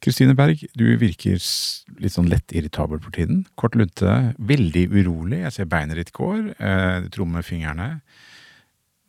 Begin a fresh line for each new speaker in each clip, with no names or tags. Kristine Berg, du virker s- litt sånn lett irritabel for tiden. Kort lunte, veldig urolig. Jeg ser beinet ditt går. Eh, du trommer fingrene.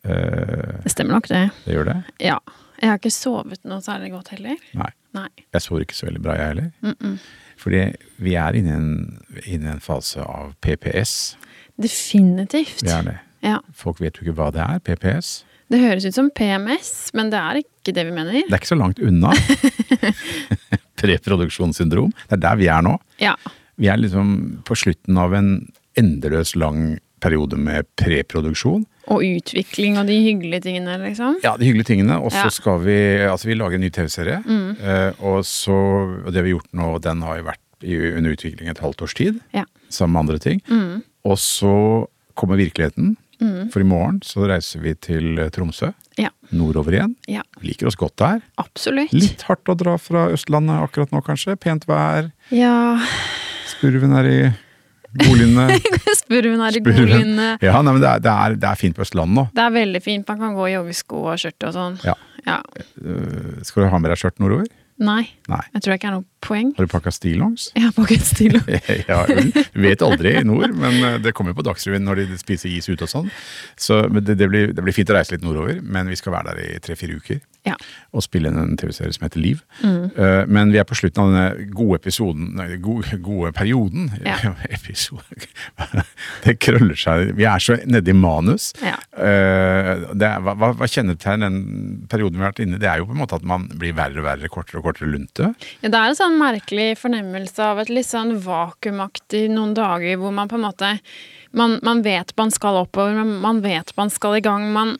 Eh,
Det stemmer nok, det.
det gjør det.
Ja. Jeg har ikke sovet noe særlig godt heller.
Nei.
Nei.
Jeg sover ikke så veldig bra, jeg heller.
Mm -mm.
Fordi vi er inne i en, inne i en fase av PPS.
Definitivt.
Vi er det.
Ja.
Folk vet jo ikke hva det er, PPS.
Det høres ut som PMS, men det er ikke det vi mener.
Det er ikke så langt unna. Preproduksjonssyndrom. Det er der vi er nå.
Ja.
Vi er liksom på slutten av en endeløs lang periode med preproduksjon.
Og utvikling og de hyggelige tingene, liksom.
Ja, de hyggelige tingene. Og så
Ja.
skal vi Altså, vi lager en ny TV-serie. eh, Og så Og det vi har gjort nå, den har jo vært i, under utvikling et halvt års tid.
Ja.
Sammen med andre ting. Og så kommer virkeligheten. For i morgen så reiser vi til eh, Tromsø.
Ja.
Nordover igjen.
ja.
Vi liker oss godt der.
Absolutt.
Litt hardt å dra fra Østlandet akkurat nå, kanskje. Pent vær.
Ja
Spurven er i boligene.
Spurven er i
Spurven.
godlynene.
Ja, nei, men det er, det, er, det er fint på Østlandet nå.
Det er veldig fint. Man kan gå i joggesko og skjørt og sånn.
Ja.
Ja.
Øh, skal du ha med deg skjørt nordover?
Nei.
Nei.
Jeg tror det ikke er noe poeng.
Har du pakka stillongs?
Jeg har pakket stille.
ja, ull. Du vet aldri i nord, men eh, det kommer jo på Dagsrevyen når de spiser is ute og sånn. Så men det, det, blir, det blir fint å reise litt nordover, men vi skal være der i tre-fire uker
Ja.
og spille inn en TV-serie som heter Liv.
Mm.
Eh, men vi er på slutten av denne gode episoden nei, gode, gode perioden.
Ja.
Episode Det krøller seg. Vi er så nede i manus.
Ja.
Eh, det er, hva, hva hva kjennetegner den perioden vi har vært inne i? Det er jo på en måte at man blir verre og verre, kortere og kortere lunte.
Ja, det er en sånn merkelig fornemmelse av et litt sånn vakuumaktig noen dager hvor man på en måte man, man vet man skal oppover, men man vet man skal i gang. Man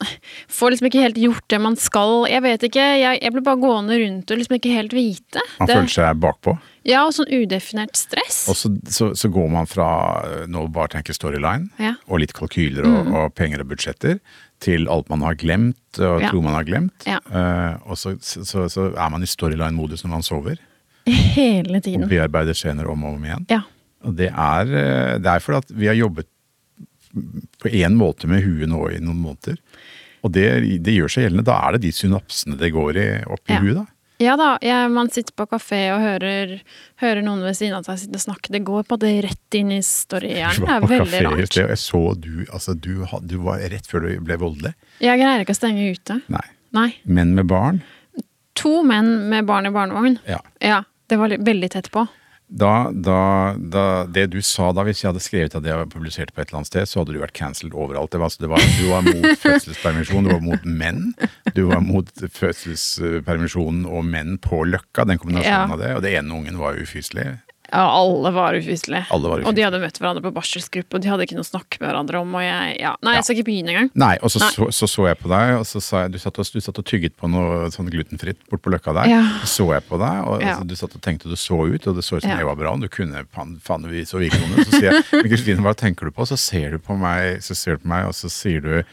får liksom ikke helt gjort det man skal. Jeg vet ikke, jeg, jeg blir bare gående rundt og liksom ikke helt vite.
Man
Det-
føler seg bakpå.
Ja, og sånn udefinert stress.
Og så, så, så går man fra eh, nå bare tenker storyline
Ja. Mm.
og litt kalkyler og, og penger og budsjetter til alt man har glemt og
Ja.
tror man har glemt.
Ja.
Eh, og så, så, så er man i storyline-modus når man sover.
Hele
Og
tiden.
bearbeider scener om og om igjen.
Ja.
Og det er eh, det er fordi at vi har jobbet på én måte med huet nå i noen måneder. Og det, det gjør seg gjeldende. Da er det de synapsene det går i opp i
Ja.
huet, da.
Ja da, jeg, man sitter på kafé og hører, hører noen ved siden av seg sitte og snakke. Det går på det rett inn i
Vi
storyhjernen. Det
var
er
på
veldig
kafé i
rart.
sted, og jeg så du altså du, had- du var rett før du ble voldelig.
Jeg greier ikke å stenge ute.
Nei.
Nei.
Menn med barn.
To menn med barn i barnevogn.
Ja.
Ja, det var li- veldig tett på.
Da, da, da, det du sa da, hvis jeg hadde skrevet at det var publisert på et eller annet sted, så hadde du vært cancelled overalt. Det var, altså, det var, du var mot fødselspermisjon, du var mot menn. Du var mot fødselspermisjonen og menn på Løkka, den kombinasjonen
Ja.
av det. Og det ene ungen var jo ufyselig.
Ja, alle var ufyselige.
Alle var
Og de
ufyselige.
hadde møtt hverandre på barselsgruppe, og de hadde ikke noe å snakke med hverandre om. Og jeg, ja. Nei,
Ja.
jeg skal ikke begynne engang.
Nei, og så
Nei.
så, så, så jeg på deg, og så sa jeg Du satt og, du satt og tygget på noe sånn glutenfritt bort på Løkka der.
Ja.
Så så jeg på deg, og
Ja.
altså, du satt og tenkte du så ut, og det så ut som
Ja.
jeg var bra. og Du kunne faen, faen vi så videregående. Så sier jeg Men Kristine, hva tenker du på? Så ser du på meg, så ser du på meg, og så sier du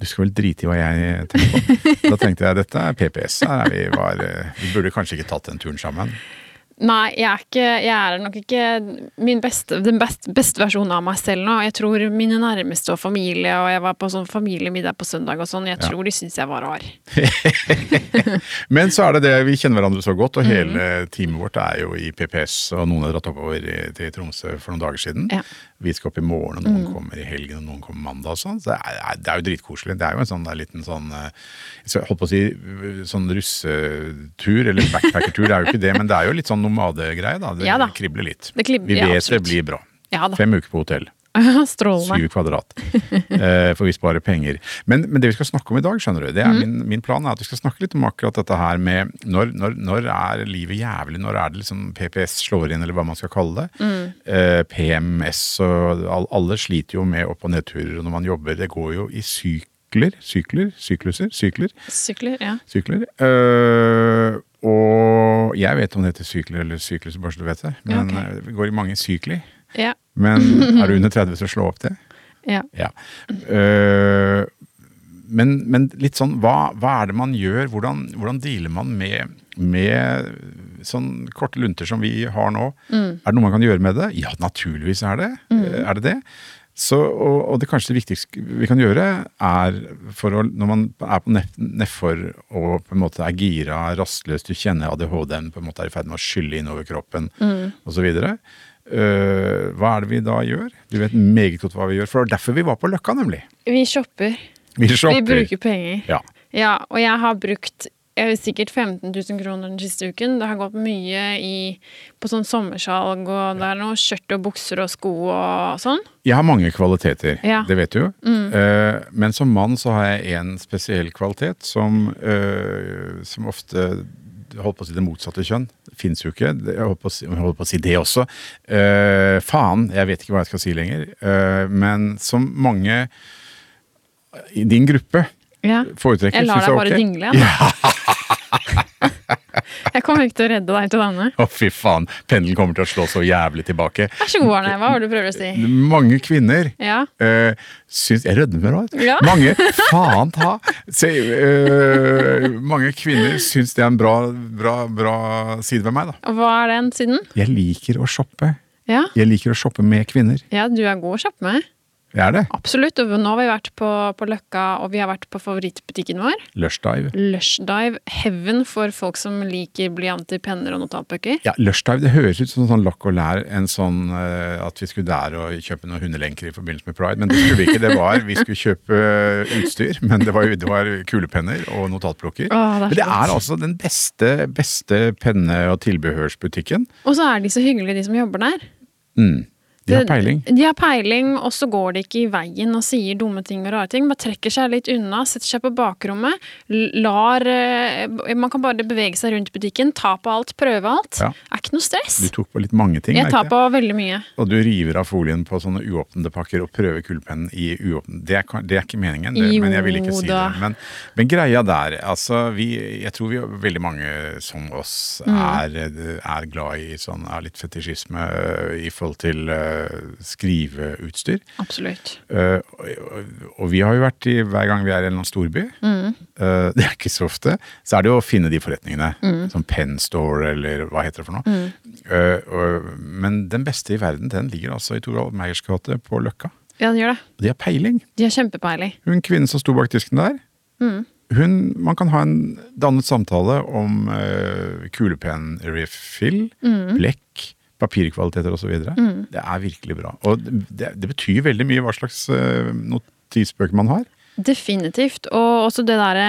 du skal vel drite i hva jeg tenker på. Da tenkte jeg dette er PPS. Her er vi, var, eh, vi burde kanskje ikke tatt den turen sammen.
Nei, jeg er, ikke, jeg er nok ikke min beste, den beste, beste versjonen av meg selv nå. Jeg tror mine nærmeste og familie, og jeg var på sånn familiemiddag på søndag og sånn, jeg tror de syns jeg var rar.
Men så er det det, vi kjenner hverandre så godt, og
Mm.
hele teamet vårt er jo i PPS, og noen har dratt oppover i- til Tromsø for noen dager siden.
Ja. Mm.
Vi skal opp i morgen, og noen kommer i helgen, og noen kommer mandag og sånn. Så det er, det er jo dritkoselig. Det er jo en sånn der liten sånn, eh, jeg holdt på å si, eh, sånn russetur, eller backpackertur, det er jo ikke det, men det er jo litt sånn nomadegreie da. Det
Ja da.
kribler litt.
Det kribler-
vi
ja,
vet det
absolutt.
blir bra.
Ja da.
Fem uker på hotell.
Strålende.
Syv kvadrat. Eh, for vi sparer penger. Men, men det vi skal snakke om i dag, skjønner du, det er min, min plan er at vi skal snakke litt om akkurat dette her med når, når, når er livet jævlig, når er det liksom PPS slår inn, eller hva man skal kalle det. Eh, PMS og all, Alle sliter jo med opp- og nedturer og når man jobber. Det går jo i sykler. Sykler? Sykluser? Sykler?
Sykler, ja.
Sykler. Eh, og jeg vet om det heter sykler eller syklus, bare så du vet det. Men
Ok.
eh, det går i mange sykler.
Ja.
Men er du under 30 så slå opp det.
ja.
Ja. Øh, men, men litt sånn, hva, hva er det man gjør? Hvordan, hvordan dealer man med, med sånn korte lunter som vi har nå? eh, Er det noe man kan gjøre med det? Ja, naturligvis er det. Er det det? Så, og, og det kanskje det viktigste vi kan gjøre, er for å, når man er på nef- nedfor og på en måte er gira, rastløs, du kjenner ADHD-en på en måte er i ferd med å skylle inn over kroppen osv. Uh, hva er det vi da gjør? Du vet meget godt hva vi gjør. For det var derfor vi var på Løkka, nemlig.
Vi shopper.
Vi
Vi
shopper.
bruker penger.
Ja.
Ja, og jeg har brukt eh, sikkert 15 000 kroner den siste uken. Det har gått mye i, på sånn sommersalg, og det er noe skjørt og bukser og sko og sånn.
Jeg har mange kvaliteter,
Ja. Mm.
det vet du jo. Eh, men som mann så har jeg en spesiell kvalitet som, eh, som ofte jeg holdt på å si det motsatte kjønn. Fins jo ikke. Det- Jeg holdt på å si, jeg holdt på å si det også. Eh, faen, jeg vet ikke hva jeg skal si lenger. Eh, men som mange i din gruppe
Ja.
foretrekker
Jeg lar
synes
deg bare
ok.
dingle igjen. jeg kommer ikke til å redde deg til denne.
Å, fy faen. Pendelen kommer til å slå så jævlig tilbake.
Vær så god, Arne. Hva var det du prøver å si?
Mange kvinner
Ja.
Eh, syns, jeg rødmer nå. vet du.
Ja.
Mange faen ta! Se, eh, mange kvinner syns det er en bra, bra, bra side ved meg. da.
Og hva er den siden?
Jeg liker å shoppe.
Ja.
Jeg liker å shoppe med kvinner.
ja, du er god å kjappe med.
Jeg er det.
Absolutt. Og nå har vi vært på, på Løkka, og vi har vært på favorittbutikken vår.
Lushdive.
Lushdive. Heaven for folk som liker blyanter, penner og notatbøker.
Ja, Lushdive det høres ut som sånn lakk og lær, en sånn eh, at vi skulle der og kjøpe noen hundelenker i forbindelse med pride. Men det skulle vi ikke. det var, Vi skulle kjøpe eh, utstyr, men det var, jo- det var kulepenner og notatblokker.
Åh, det er
men det
så godt.
er altså den beste, beste penne- og tilbehørsbutikken.
Og så er de så hyggelige, de som jobber der.
Mm. De har
Det-
peiling.
De har peiling, og så går de ikke i veien og sier dumme ting og rare ting. Bare trekker seg litt unna, setter seg på bakrommet. l- Lar eh, b- Man kan bare bevege seg rundt butikken, ta på alt, prøve alt.
Ja.
Er ikke noe
Du
stress.
tok på litt mange ting,
Jeg tar
merker jeg.
på veldig mye.
Og du river av folien på sånne uåpnede pakker og prøver kullpennen i uåpnede det, er kan- det er ikke meningen, det, men jeg vil ikke
Jo
si
da.
det. Men, men greia der, altså vi, Jeg tror vi veldig mange som oss
Mm.
er, er glad i sånn er litt fetisjisme øh, i forhold til øh, skriveutstyr.
Absolutt.
Eh, og, og vi har jo vært i, hver gang vi er i en eller annen storby, eh, det er ikke så ofte, så er det jo å finne de forretningene. Som Penn Store, eller hva heter det for noe. Eh, og, men den beste i verden, den ligger altså i Toralv Meyers gate på Løkka.
Ja, den gjør det.
Og de har peiling.
De har kjempepeiling.
Hun kvinnen som sto bak disken der,
Mm.
hun, man kan ha en dannet samtale om uh, kulepenn-refill,
Mm.
blekk, papirkvaliteter osv. videre Det er virkelig bra. Og det, det betyr veldig mye hva slags eh, notisbøker man har.
Definitivt. Og også det derre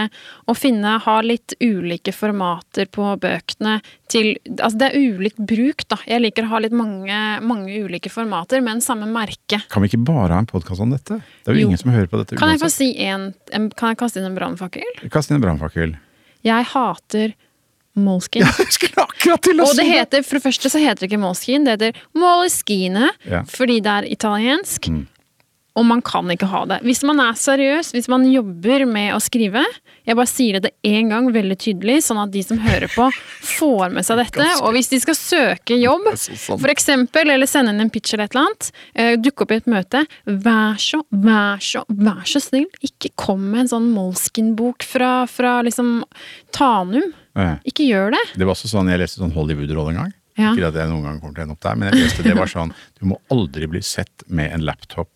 å finne ha litt ulike formater på bøkene til Altså det er ulik bruk, da. Jeg liker å ha litt mange, mange ulike formater, men samme merke.
Kan vi ikke bare ha en podkast om dette? Det er jo,
Jo.
ingen som hører på dette.
Kan jeg få
uansett.
si en, en Kan jeg kaste inn en brannfakkel?
Kast inn en brannfakkel.
Jeg hater Moleskin.
Jeg skulle akkurat til å
Og
si
det heter, for det første så heter det ikke Moleskin, det heter Moleskine,
Ja. Mm.
fordi det er italiensk. Og man kan ikke ha det. Hvis man er seriøs, hvis man jobber med å skrive Jeg bare sier det én gang veldig tydelig, sånn at de som hører på, får med seg dette. Og hvis de skal søke jobb,
Det er så sant.
for eksempel, eller sende inn en pitch eller et eller annet, eh, dukke opp i et møte, vær så, vær så, vær så snill, ikke kom med en sånn Moleskin-bok fra, fra liksom Tanum.
Eh,
Ikke gjør det.
Det var også sånn, Jeg leste sånn Hollywood-roll en gang.
Ja.
Ikke at jeg noen gang kommer til å ende opp der, men jeg leste det var sånn Du må aldri bli sett med en laptop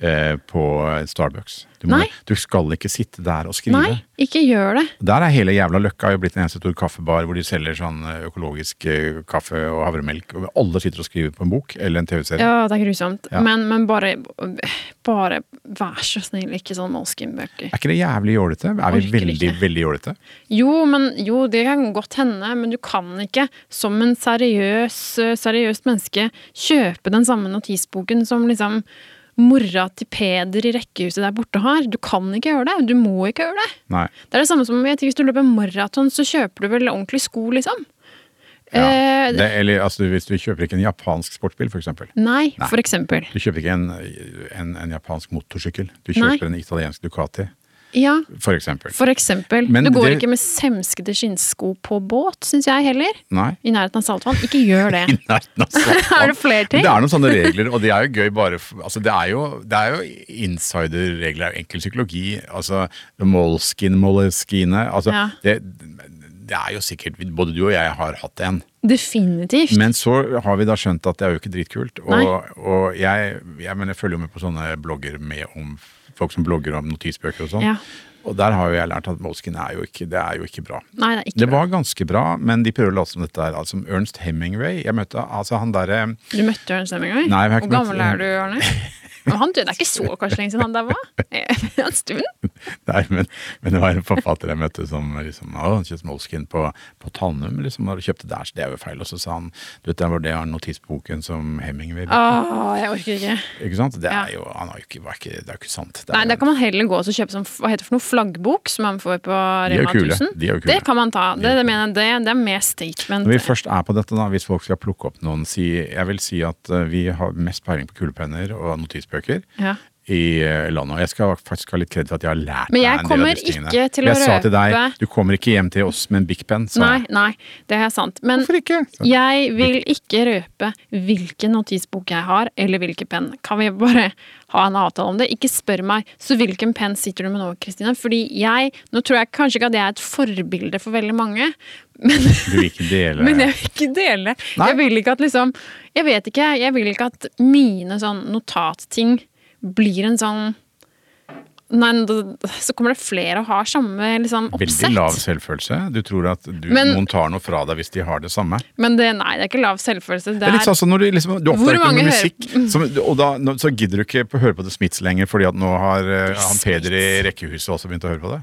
eh, på Starbucks. Du, må,
Nei.
du skal ikke sitte der og skrive.
Nei, ikke gjør det.
Der er hele jævla Løkka jo blitt en eneste stor kaffebar hvor de selger sånn eh, økologisk eh, kaffe og havremelk. og Alle sitter og skriver på en bok eller en TV-serie.
Ja, det er grusomt.
Ja.
Men, men bare, bare vær så snill, ikke sånn Moleskin-bøker.
Er ikke det jævlig jålete? Er vi
Orker
veldig,
ikke.
veldig jålete?
Jo, men, jo, det kan godt hende, men du kan ikke som en seriøs, seriøst menneske kjøpe den samme notisboken som liksom mora til Peder i rekkehuset der borte har. Du kan ikke gjøre det. Du må ikke gjøre det.
Nei.
Det er det samme som jeg tenker, hvis du løper maraton, så kjøper du vel ordentlige sko, liksom.
Ja.
Eh,
Det, eller altså, hvis du kjøper ikke en japansk sportsbil, f.eks.
Nei,
Nei.
for eksempel.
Du kjøper ikke en, en, en japansk motorsykkel. Du
Nei.
kjøper en italiensk Ducati,
Ja,
f.eks. eksempel
for eksempel.
Men
du går
det-
ikke med semskede skinnsko på båt, syns jeg heller.
Nei.
I nærheten av saltvann. Ikke gjør det.
I nærheten av sånn.
Er det flere ting?
Det er noen sånne regler, og det er jo gøy bare for, altså Det er jo, det er jo insiderregler, enkel psykologi. Altså Moleskin, Moleskine altså,
Ja.
det, det er jo sikkert Både du og jeg har hatt en.
Definitivt.
Men så har vi da skjønt at det er jo ikke dritkult.
Nei.
Og, og jeg, jeg, mener, jeg følger jo med på sånne blogger med om folk som blogger om notisbøker og sånn.
Ja.
Og der har jo jeg lært at Moleskin er jo ikke, det er jo ikke bra.
Nei, det er ikke
Det var ganske bra, men de prøver å late som dette er altså Ernst Hemingway. Jeg møtte altså han derre
bra. Du møtte Ernst Hemingway?
Nei, jeg har ikke
Hvor gammel
møtt-
er du, Arne? Men han døde det er ikke så kanskje lenge siden han der var? Eh, En stund?
Nei, men, men det var en forfatter jeg møtte som liksom, å, han kjøpte Moleskin på, på Tannum. Liksom, og kjøpte der, så det er jo feil. Og så sa han du vet, det var det han notisboken som Hemingway brukte.
Åh, jeg orker ikke.
Ikke sant? Det
Ah. Ja.
er jo han har jo ikke, var ikke, det er jo ikke sant. Det er
Nei,
jo-
Da kan man heller gå og så kjøpe sånn, hva heter det for noe, flaggbok, som man får på
De er jo
Rema
kule.
1000.
De er jo kule.
Det kan man ta. Det,
er
det, mener jeg, det, det er mer statement.
Når vi først er på dette, da, hvis folk skal plukke opp noen si, Jeg vil si at eh, vi har mest peiling på kulepenner og notisbøker
Ja.
i eh, landet. Og jeg skal faktisk ha litt kred for at jeg har lært
Men
meg
jeg
en del av
kommer
disse tingene.
ikke til å
jeg sa til deg
røpe-
du kommer ikke hjem til oss med en Big Pen. Sa
Nei,
jeg.
nei, det er sant. Men
Hvorfor ikke? Så,
jeg vil ikke røpe hvilken notisbok jeg har, eller hvilken penn. Kan vi bare ha en avtale om det? Ikke spør meg så hvilken penn sitter du med nå, Kristina. Fordi jeg Nå tror jeg kanskje ikke at jeg er et forbilde for veldig mange, men
Du vil ikke dele
Men jeg vil ikke dele.
Nei.
Jeg vil ikke at liksom Jeg vet ikke. Jeg vil ikke at mine sånn notatting blir en sånn Nei, da- så kommer det flere og har samme liksom
Veldig lav
oppsett.
selvfølelse. Du tror at du,
Men-
noen tar noe fra deg hvis de har det samme.
Men det, nei, det er ikke lav selvfølelse. Det
Det er litt
er
sånn som når du liksom Du
Hvor
oppdager ikke
mange
noe
hører-
musikk, som, og da nå- så gidder du ikke på å høre på The Smiths lenger fordi at nå har eh, han Peder i rekkehuset også begynt å høre på det?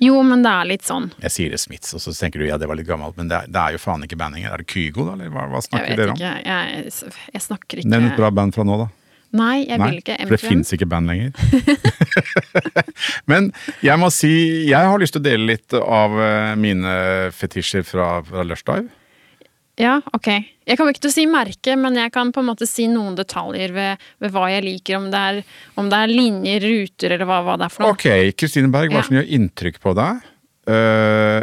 Jo, men det er litt sånn.
Jeg sier det Smiths, og så tenker du ja, det var litt gammelt, men det er, det er jo faen ikke bandinger. Er det Kygo, da, eller hva, hva
Jeg
snakker
vet
dere om?
ikke. Jeg, jeg snakker ikke
Nevn et bra band fra nå, da.
Nei, jeg
Nei,
vil ikke.
for det
MQM.
fins ikke band lenger. men jeg må si, jeg har lyst til å dele litt av eh, mine fetisjer fra, fra Lushdive.
Ja, ok. Jeg kommer ikke til å si merke, men jeg kan på en måte si noen detaljer ved, ved hva jeg liker, om det er, om det er linjer, ruter, eller hva, hva det er for noe.
Ok, Kristine Berg, hva
Ja.
som gjør inntrykk på deg? Eh,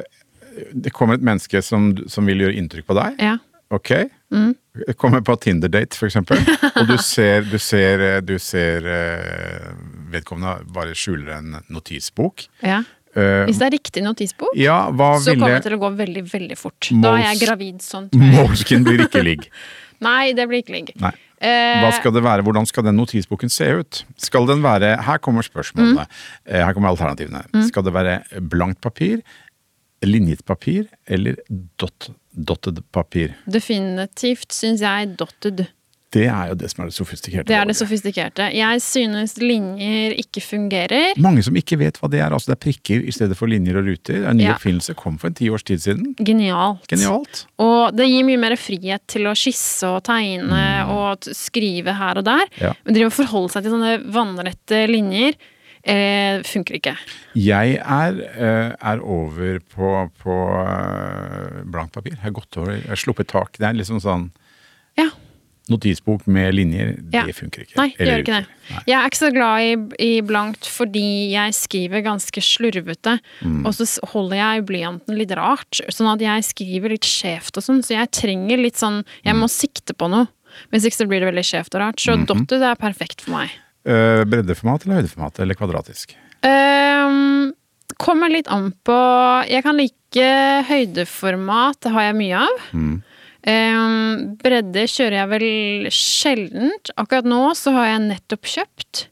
det kommer et menneske som, som vil gjøre inntrykk på deg.
Ja.
Ok.
Mm.
Kommer på Tinder-date, for eksempel, og du ser, du ser, du ser eh, vedkommende bare skjuler en notisbok.
ja.
Eh,
Hvis det er riktig notisbok,
ja, hva
så kommer
ville
det til å gå veldig, veldig fort. Da
Måls-
er jeg gravid sånn. tror jeg.
Moleskin blir ikke ligg.
Nei, det blir ikke ligg.
Nei.
Eh,
Hva skal det være? Hvordan skal den notisboken se ut? Skal den være Her kommer spørsmålene.
Mm.
Eh, Her kommer alternativene. Skal det være blankt papir, linjet papir eller dot, dotted papir?
Definitivt syns jeg dotted.
Det er jo det som er det sofistikerte.
Det er det
valget.
sofistikerte. Jeg synes linjer ikke fungerer.
Mange som ikke vet hva det er. altså Det er prikker i stedet for linjer og ruter. En ny
Ja.
oppfinnelse kom for en ti års tid siden.
Genialt.
Genialt.
Og det gir mye mer frihet til å skisse og tegne og t- skrive her og der.
Ja.
Men drive og forholde seg til sånne vannrette linjer eh, funker ikke.
Jeg er, eh, er over på, på eh, blankt papir. Jeg har gått over, jeg har sluppet tak. Det er liksom sånn
Ja.
notisbok med linjer,
Ja.
det funker ikke.
Nei, det
Eller
gjør ikke det.
ruter.
Jeg er ikke så glad i, i blankt fordi jeg skriver ganske slurvete. Og så s- holder jeg blyanten litt rart, sånn at jeg skriver litt skjevt og sånn. Så jeg trenger litt sånn Jeg må sikte på noe. Hvis ikke så blir det veldig skjevt og rart. Så dotted er perfekt for meg.
Eh, breddeformat eller høydeformat eller kvadratisk?
Ehm, kommer litt an på Jeg kan like høydeformat, det har jeg mye av.
Mm.
Ehm, bredde kjører jeg vel sjeldent. Akkurat nå så har jeg nettopp kjøpt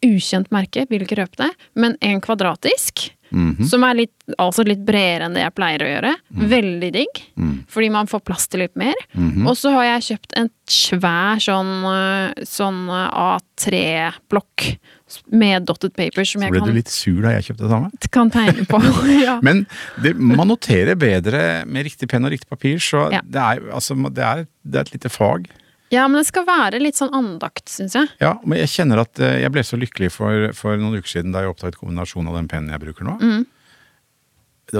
ukjent merke, vil ikke røpe det, men en kvadratisk.
Mhm.
Som er litt, altså litt bredere enn det jeg pleier å gjøre.
Mm.
Veldig digg. Fordi man får plass til litt mer.
Mhm.
Og så har jeg kjøpt en svær sånn, øh, sånn øh, A3-blokk med dotted paper som
Så
jeg
ble du
kan,
litt sur da jeg kjøpte det samme.
kan tegne på. ja.
Men det, man noterer bedre med riktig penn og riktig papir, så
Ja.
det, er, altså, det, er, det er et lite fag.
ja, men det skal være litt sånn andakt, syns jeg.
Ja, men jeg kjenner at eh, jeg ble så lykkelig for, for noen uker siden da jeg oppdaget kombinasjonen av den pennen jeg bruker nå.
Mm.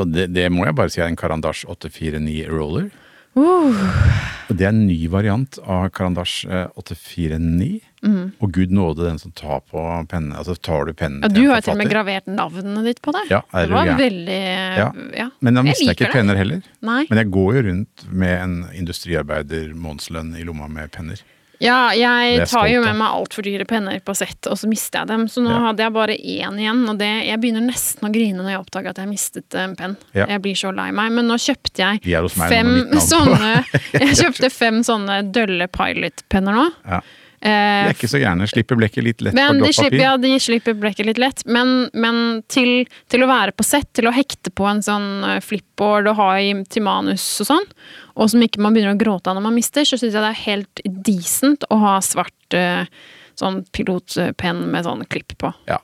Og Det, det må jeg bare si er en Karandash 849 Roller. Uh, Og det er en ny variant av Karandash eh, 849. Og gud nåde den som tar på pennen. Altså tar du pennen
Mm. Ja,
til
du
en
har jo til og med
forfatter.
gravert navnet ditt på det.
Ja, er
det
du
var
gæren?
veldig
Ja.
Ja.
Men da
Jeg
mister jeg
liker
ikke penner heller.
Nei.
Men jeg går jo rundt med en industriarbeider månedslønn i lomma med penner.
Ja,
Det er
jeg tar
stolt
jo
av.
med meg altfor dyre penner på sett, og så mister jeg dem. Så nå
Ja.
hadde jeg bare én igjen, og det, jeg begynner nesten å grine når jeg oppdager at jeg mistet eh, en penn.
Ja.
Jeg blir så lei meg. Men nå kjøpte
De er hos meg
jeg fem
med mitt navn på.
sånne Jeg kjøpte fem sånne dølle pilot-penner nå.
Ja.
Eh,
Jeg er ikke så gjerne. Slipper blekket litt lett
men
på
de
glatt
slipper,
papir.
ja, de slipper blekket litt lett, men, men til, til å være på sett, til å hekte på en sånn eh, flipboard og ha i, til manus og sånn, og som ikke man begynner å gråte av når man mister, så syns jeg det er helt decent å ha svart eh, sånn pilotpenn med sånn klipp på.
Ja.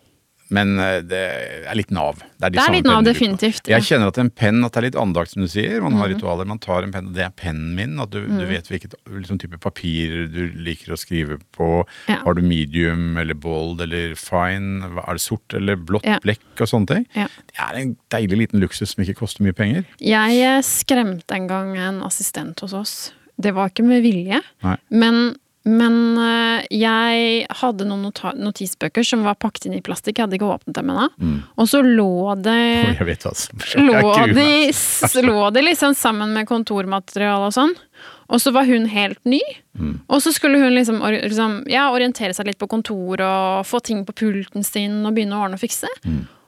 Men eh, det er litt Nav. Det er, de
Det er
samme
litt Nav,
pennene du
definitivt,
bruker. Jeg
ja. Mhm.
kjenner at en penn at det er litt andakt, som du sier. Man har ritualer, man tar en penn, og det er pennen min. At du, du vet hvilket liksom, type papir du liker å skrive på.
Ja.
Har du medium eller bold eller fine? Hva- Er det sort eller blått
Ja.
blekk og sånne ting?
Ja.
Det er en deilig liten luksus som ikke koster mye penger.
Jeg eh, skremte en gang en assistent hos oss. Det var ikke med vilje,
Nei.
men, men eh, jeg hadde noen nota notisbøker som var pakket inn i plastikk, jeg hadde ikke åpnet dem ennå. Og så lå det
Jeg vet hva som jeg
lå
gruer meg.
de, lå de liksom sammen med kontormateriale og sånn. Og så var hun helt ny. Og så skulle hun liksom, or, liksom ja, orientere seg litt på kontoret og få ting på pulten sin og begynne å ordne og fikse.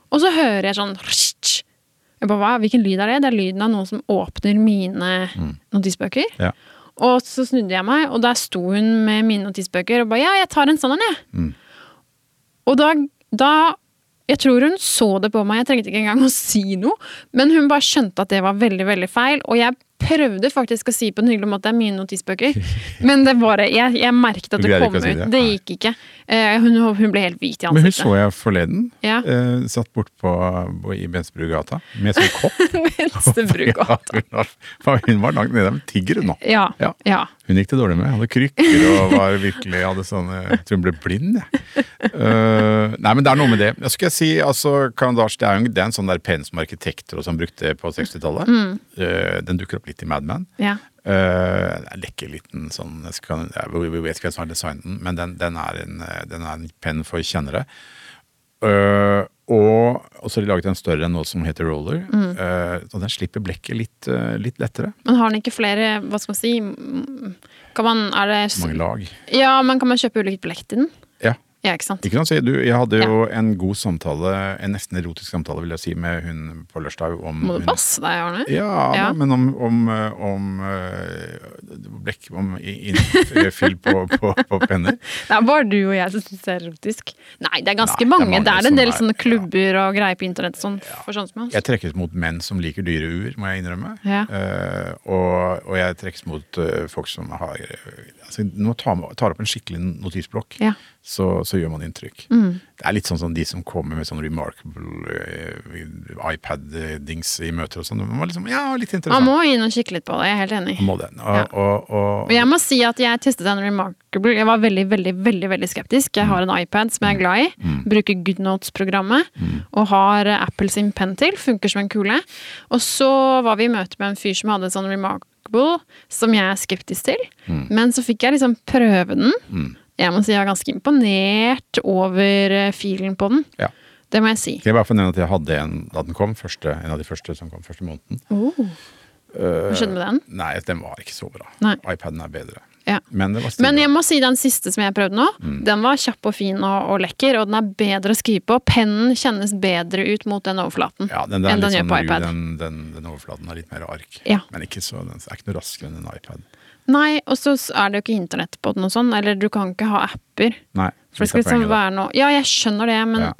Og så hører jeg sånn «Rst!» jeg bare, hva, Hvilken lyd er det? Det er lyden av noen som åpner mine notisbøker.
Ja.
Og så snudde jeg meg, og der sto hun med mine notisbøker og ba ja, jeg tar en sånn en, jeg.
Mm.
Og da, da Jeg tror hun så det på meg, jeg trengte ikke engang å si noe. Men hun bare skjønte at det var veldig, veldig feil. Og jeg prøvde faktisk å si på en hyggelig måte at det er mine notisbøker. Men det bare, jeg, jeg merket at
Du
det
greide
kom
ikke å
ut.
si
Det.
det? Nei.
gikk ikke. Eh, hun, hun ble helt hvit i
Men hun
ansiktet.
så jeg forleden.
Ja.
Eh, satt bort på, på, i Bensbrugata med sånn kopp.
Venstrebruk.
Ja, hun var- hun var langt nede. Hun tigger hun nå.
Ja,
Ja.
ja.
Hun gikk det dårlig med. Hadde krykker og var virkelig hadde sånne Jeg tror hun ble blind, jeg. Eh, nei, men det er noe med det. Jeg skal si, altså, Carandache, det er jo en, det er en sånn der penn som arkitekter og sånn brukte på 60-tallet. Eh, den dukker opp litt i Mad Men.
ja.
Eh, det er en lekker liten sånn jeg, skal, jeg vet ikke hvem som har designet den, men den, den, er en, eh, den er en penn for kjennere. Eh, og, og så har de laget en større enn nå som heter Roller.
Mm.
Eh, så den slipper blekket litt, eh, litt lettere.
Men har den ikke flere Hva skal man si? mm, Kan man, er det,
Mange lag.
ja, men kan man kjøpe ulikt blekk til den?
Ja.
Ja, ikke sant?
Ikke sant? Så jeg- Du, jeg hadde jo en god samtale, en nesten erotisk samtale vil jeg si, med hun på lørdag om
Må
hun-
du passe deg, Arne?
Ja,
Ja.
Da, men om, om, eh, om eh, blekk Om i- innfyll på, på, på penner.
Det er bare du og jeg som syns det er erotisk. Nei, det er
Nei,
ganske
det er
mange.
mange
Det er en
som
del
er-
sånne
ja.
klubber og greier på internett sånn, for sånn som oss.
Jeg trekkes mot menn som liker dyre ur, må jeg innrømme.
Ja.
Eh, og, og jeg trekkes mot eh, folk som har eh, altså, Når man tar, tar opp en skikkelig notisblokk,
Ja. Mm.
så, så gjør man inntrykk. Det er litt sånn som de som kommer med sånn remarkable eh, iPad-dings i møter og sånn. Man må liksom, ja, litt
Man
interessant.
må inn og kikke litt på det, jeg er helt enig.
Man må det. Og,
Ja.
og, og,
Og jeg må si at jeg testet en Remarkable. Jeg var veldig, veldig veldig, veldig skeptisk. Jeg har en iPad som jeg er glad i. Bruker GoodNotes-programmet. Og har eh, Apple sin penn til. Funker som en kule. Og så var vi i møte med en fyr som hadde en sånn Remarkable, som jeg er skeptisk til. Men så fikk jeg liksom prøve den. Jeg må si jeg er ganske imponert over eh, filen på den.
ja.
Det må jeg si.
Skal jeg bare få nevne at jeg hadde en da den kom, første, en av de første som kom første måneden.
Hva skjedde med den?
Nei, den var ikke så bra.
Nei.
iPaden er bedre.
Ja.
Men det var stille.
Men jeg må si den siste som jeg prøvde nå,
Mm.
den var kjapp og fin og, og lekker, og den er bedre å skrive på. Pennen kjennes bedre ut mot den overflaten
Ja, den, der
enn
litt
den gjør
sånn
på
ru,
iPad.
Den, den, den overflaten har litt mer ark.
Ja.
Men ikke så, den er ikke noe raskere enn en iPad.
Nei, og så er det jo ikke internett på den og sånn, eller du kan ikke ha apper.
Nei, litt av
For det skal liksom
poenget, da.
være noe Ja, jeg skjønner det, men
Ja.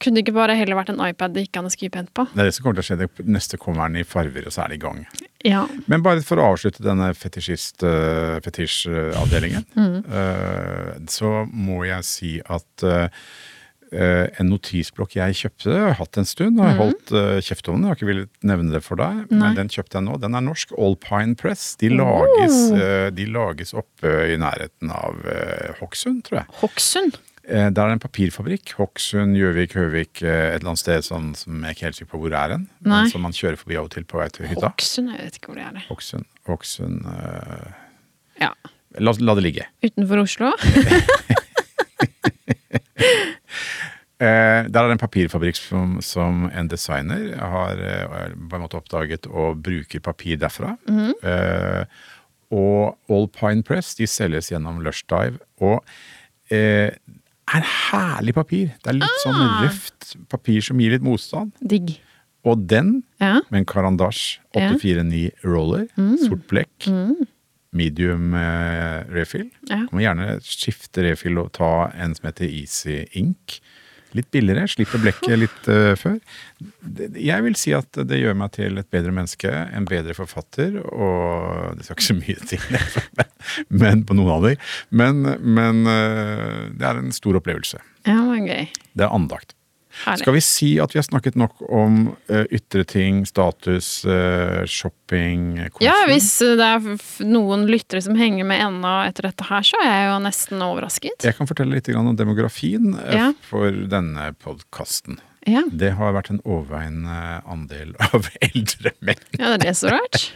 kunne det ikke bare heller vært en iPad det gikk an å skrive pent på?
Det er det som kommer til å skje. Det neste kommer den i farver, og så er det i gang.
Ja.
Men bare for å avslutte denne fetisjist, eh, fetisjavdelingen,
Mm.
eh, så må jeg si at eh, eh, en notisblokk jeg kjøpte, har jeg hatt en stund, har jeg holdt eh, kjeft om den, jeg har ikke villet nevne det for deg,
Mm. Nei.
men den kjøpte jeg nå. Den er norsk, Alpine Press. De lages,
Oh.
eh, de lages oppe i nærheten av eh, Hokksund, tror jeg.
Hokksund.
Eh, Der er det en papirfabrikk. Hokksund, Gjøvik, Høvik, eh, et eller annet sted sånn, som jeg er ikke helt sikker på hvor er hen.
Nei.
men Som man kjører forbi av og til på vei til hytta.
Hokksund, jeg vet ikke hvor det er.
Hokksund, Hokksund eh,
Ja.
la, la det ligge.
Utenfor Oslo.
Eh, der er det en papirfabrikk som, som en designer har eh, på en måte oppdaget og bruker papir derfra. Eh, og All Pine Press. De selges gjennom Lushdive. Og eh, er herlig papir. Det er litt sånn røft papir som gir litt motstand.
Digg.
Og den,
Ja.
med en Karandash 849 roller, sort blekk, medium eh, refill.
Ja.
Kan man gjerne skifte refill og ta en som heter Easy Ink. Litt billigere, slipper blekket litt eh, før. Det- Jeg vil si at det gjør meg til et bedre menneske, en bedre forfatter, og det skal ikke så mye til, men- men på noen alder. Men, men eh, det er en stor opplevelse.
ja, men gøy.
Det er andakt.
Herlig.
Skal vi si at vi har snakket nok om eh, ytre ting, status, eh, shopping eh, konsum?
Ja, hvis det er f- noen lyttere som henger med ennå etter dette her, så er jeg jo nesten overrasket.
Jeg kan fortelle litt grann om demografien eh,
Ja.
for denne podkasten.
Ja,
Det har vært en overveiende andel av eldre menn.
ja det er det så rart.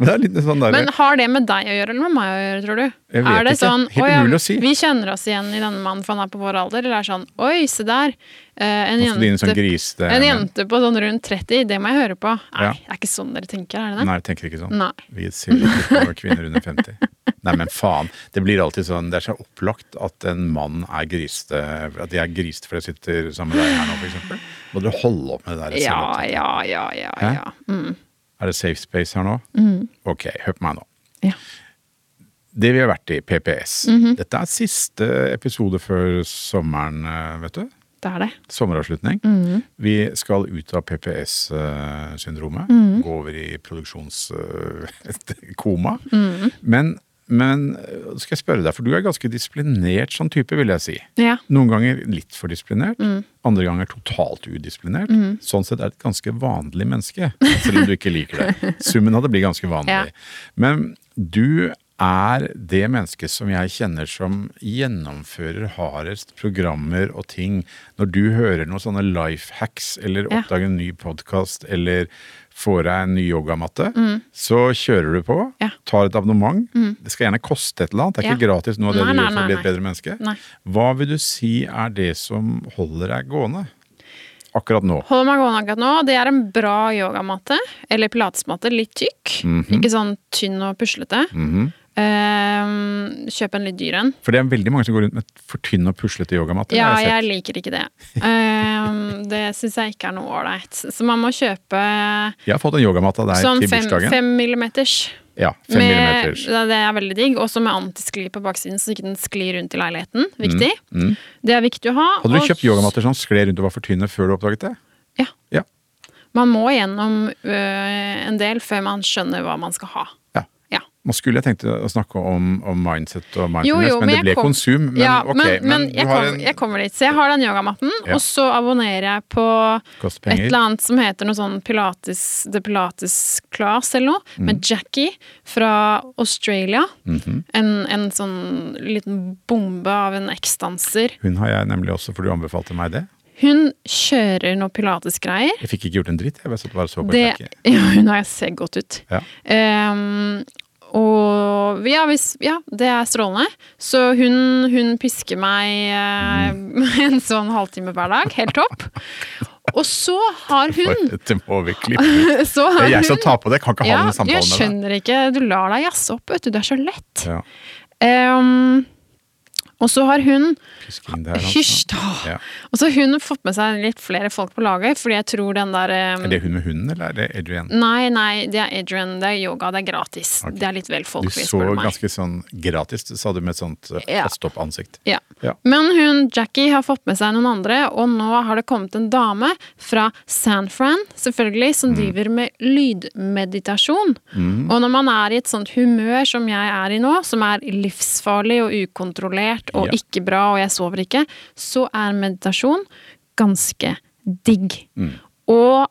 Men det er litt sånn der,
Men har det med deg å gjøre, eller med meg å gjøre, tror du?
Jeg vet
er det
ikke.
sånn
Helt
«Å ja,
umulig å si.»
Vi kjenner oss igjen i denne mannen, for han er på vår alder. Eller er det sånn Oi, se der. eh,
nå skal det
En
inn
jente,
en sånn grisete
en
menn.
jente på sånn rundt 30, det må jeg høre på. Nei,
Ja.
det er ikke sånn dere tenker, er det det?
Nei, jeg tenker ikke sånn.
Nei.
Vi ser ikke på kvinner under 50. Nei, men faen. Det blir alltid sånn, det er så opplagt at en mann er griste, at de er griste fordi jeg sitter sammen med deg her nå, for eksempel. Må dere holde opp med det der?
Ja,
selvopptatt?
ja, ja, ja.
Hæ?
ja. Mm.
Er det safe space her nå? Ok, hør på meg nå.
Ja.
Det vi har vært i, PPS. Dette er siste episode før sommeren, eh, vet du.
Det er det.
Sommeravslutning. Vi skal ut av PPS-syndromet. eh, Gå over i produksjonskoma. Men, men eh, skal jeg spørre deg, for du er ganske disiplinert sånn type, vil jeg si.
Ja. Mm.
Noen ganger litt for disiplinert, andre ganger totalt udisiplinert. Sånn sett er det et ganske vanlig menneske, selv om du ikke liker det. Summen av det blir ganske vanlig.
Ja.
Men du er det mennesket som jeg kjenner som gjennomfører hardest programmer og ting. Når du hører noen sånne life hacks, eller
Ja.
oppdager en ny podkast, eller får deg en ny yogamatte, så kjører du på,
Mm. Ja. Mm.
tar et abonnement. Det skal gjerne koste et eller annet, det er ikke
Ja.
gratis noe av det
Nei,
du
nei,
gjør for
nei,
å bli et
nei.
bedre menneske.
Nei.
Hva vil du si er det som holder deg gående akkurat nå?
Holder meg gående akkurat nå. Det er en bra yogamatte, eller pilatesmatte, litt tykk.
Mhm.
Ikke sånn tynn og puslete. Eh, kjøp en litt dyr en.
For det er veldig mange som går rundt med for tynn og puslete yogamatte.
Ja,
har
jeg
sett.
liker ikke det. Eh, det syns jeg ikke er noe ålreit. Så man må kjøpe
jeg har fått en yogamatte av deg
sånn
til
fem,
bursdagen.
fem millimeters.
ja, fem
Med,
millimeters.
det er veldig digg. Også med antiskli på baksiden, så ikke den sklir rundt i leiligheten. Viktig. Det er viktig å ha.
Mhm. Hadde
og-
du kjøpt yogamatter som skled rundt og var for tynne før du oppdaget det?
Ja.
Ja.
Man må gjennom øh, en del før man skjønner hva man skal ha.
ja.
Ja.
Nå skulle jeg tenkt å snakke om, om mindset og mindfulness,
Jo, jo,
men, det
jeg
ble
kom-
konsum. Men
ja,
ok,
men, men
du
jeg,
har
kom,
en
jeg kommer dit. Så jeg har den yogamatten,
Ja.
og så abonnerer jeg på
Koster
et
penger.
eller annet som heter noe sånn Pilates, The Pilates Class eller noe,
Mm.
med Jackie fra Australia.
Mhm.
en, en sånn liten bombe av en eksdanser.
Hun har jeg nemlig også, for du anbefalte meg det.
Hun kjører noe pilatesgreier.
Jeg fikk ikke gjort en dritt, jeg bare satt bare og så på
Det,
kjekket.
ja, hun har sett godt ut.
Ja.
Ehm, og ja, hvis, ja, det er strålende. Så hun, hun pisker meg eh, en sånn halvtime hver dag. Helt topp. Og så har
For
hun
dette må vi klippe.
så
Det
har
er jeg
hun,
som tar på det, jeg kan ikke ha
Mm. ja,
denne
jeg
samtalen med deg.
skjønner ikke. Du lar deg jazze opp, vet du. Det er så lett.
Ja,
Ehm, og så har hun
pisking der, altså.
Hysj, da!
Ja.
Og så har hun fått med seg litt flere folk på laget, fordi jeg tror den der ehm,
Er det hun med hunden, eller er det Adrian?
Nei, nei, det er Adrian, det er yoga, det er gratis.
Ok.
Det er litt vel
Du
folkelig,
så
spør du meg.
ganske sånn gratis, sa du med et sånt eh,
Ja.
faststopp ansikt.
Ja.
Ja.
Men hun, Jackie, har fått med seg noen andre, og nå har det kommet en dame fra San Fran, selvfølgelig, som
Mm.
driver med lydmeditasjon. Og når man er i et sånt humør som jeg er i nå, som er livsfarlig og ukontrollert og
Ja.
ikke bra, og jeg sover ikke, så er meditasjon ganske digg.
Mm.
Og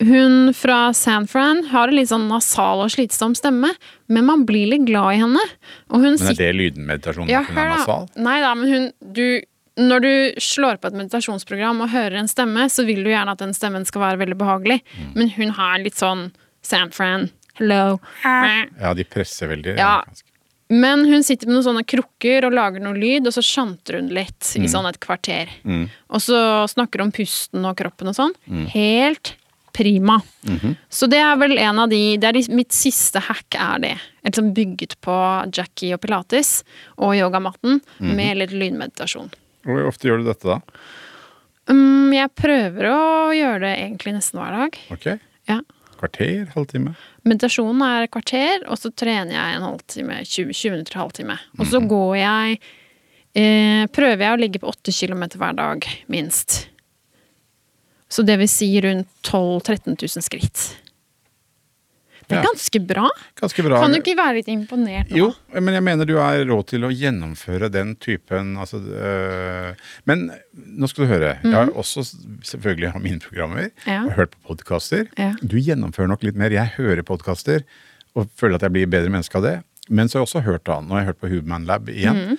hun fra San Fran har en litt sånn nasal og slitsom stemme, men man blir litt glad i henne. Og hun
Men
sitter
er det lydmeditasjonen?
ja,
at hun
hør
er
da.
nasal?
Nei da, men hun du, Når du slår på et meditasjonsprogram og hører en stemme, så vil du gjerne at den stemmen skal være veldig behagelig.
Mm.
Men hun har litt sånn San Fran, hello. meh.
Ja, de presser veldig.
Ja.
ganske.
Men hun sitter med noen sånne krukker og lager noe lyd, og så sjanter hun litt i sånn et kvarter. Og så snakker hun om pusten og kroppen og sånn. Helt prima. Så det er vel en av de, det er de Mitt siste hack er det. Eller som bygget på Jackie og pilates og yogamatten med litt lynmeditasjon.
Hvor ofte gjør du dette da?
Mm, jeg prøver å gjøre det egentlig nesten hver dag.
Ok,
Ja.
Kvarter, halvtime?
Meditasjonen er et kvarter, og så trener jeg en halvtime, 20, 20 minutter til en halvtime.
Mm-hmm.
Og så går jeg eh, Prøver jeg å ligge på 8 km hver dag, minst. Så det vil si rundt 12 000-13 000 skritt. Det
Ja.
er ganske bra.
Ganske bra.
Kan du ikke være litt imponert nå?
Jo, men jeg mener du er råd til å gjennomføre den typen altså, øh, Men nå skal du høre. Jeg har også s- selvfølgelig har mine programmer
Mhm. Ja.
og hørt på podkaster.
Ja.
Du gjennomfører nok litt mer. Jeg hører podkaster og føler at jeg blir bedre menneske av det. Men så har jeg også hørt da, nå har jeg hørt på Human Lab igjen.
Mhm.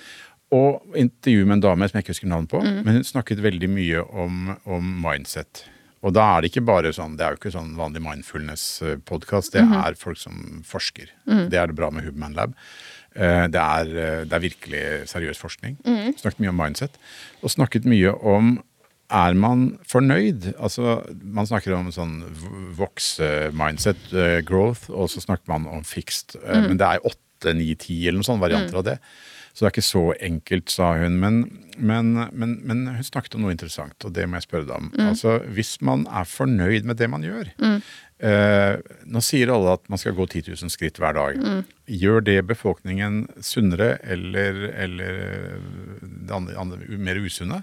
Og intervju med en dame som jeg ikke husker navnet på, men hun snakket veldig mye om, om mindset. Og da er det ikke bare sånn, det er jo ikke sånn vanlig mindfulness-podkast, det
Mhm.
er folk som forsker. Det er det bra med Human Lab. Eh, Det er, eh, det er virkelig seriøs forskning.
Mhm.
Snakket mye om mindset. Og snakket mye om er man fornøyd? Altså, man snakker om sånn vokse-mindset, eh, growth, og så snakker man om fixed. eh, Men det er åtte, ni, ti eller noen sånne varianter av det. Så det er ikke så enkelt, sa hun. Men, men, men, men hun snakket om noe interessant, og det må jeg spørre deg om. Altså, Hvis man er fornøyd med det man gjør eh, Nå sier alle at man skal gå 10 000 skritt hver dag. Gjør det befolkningen sunnere eller, eller det andre, andre, mer usunne?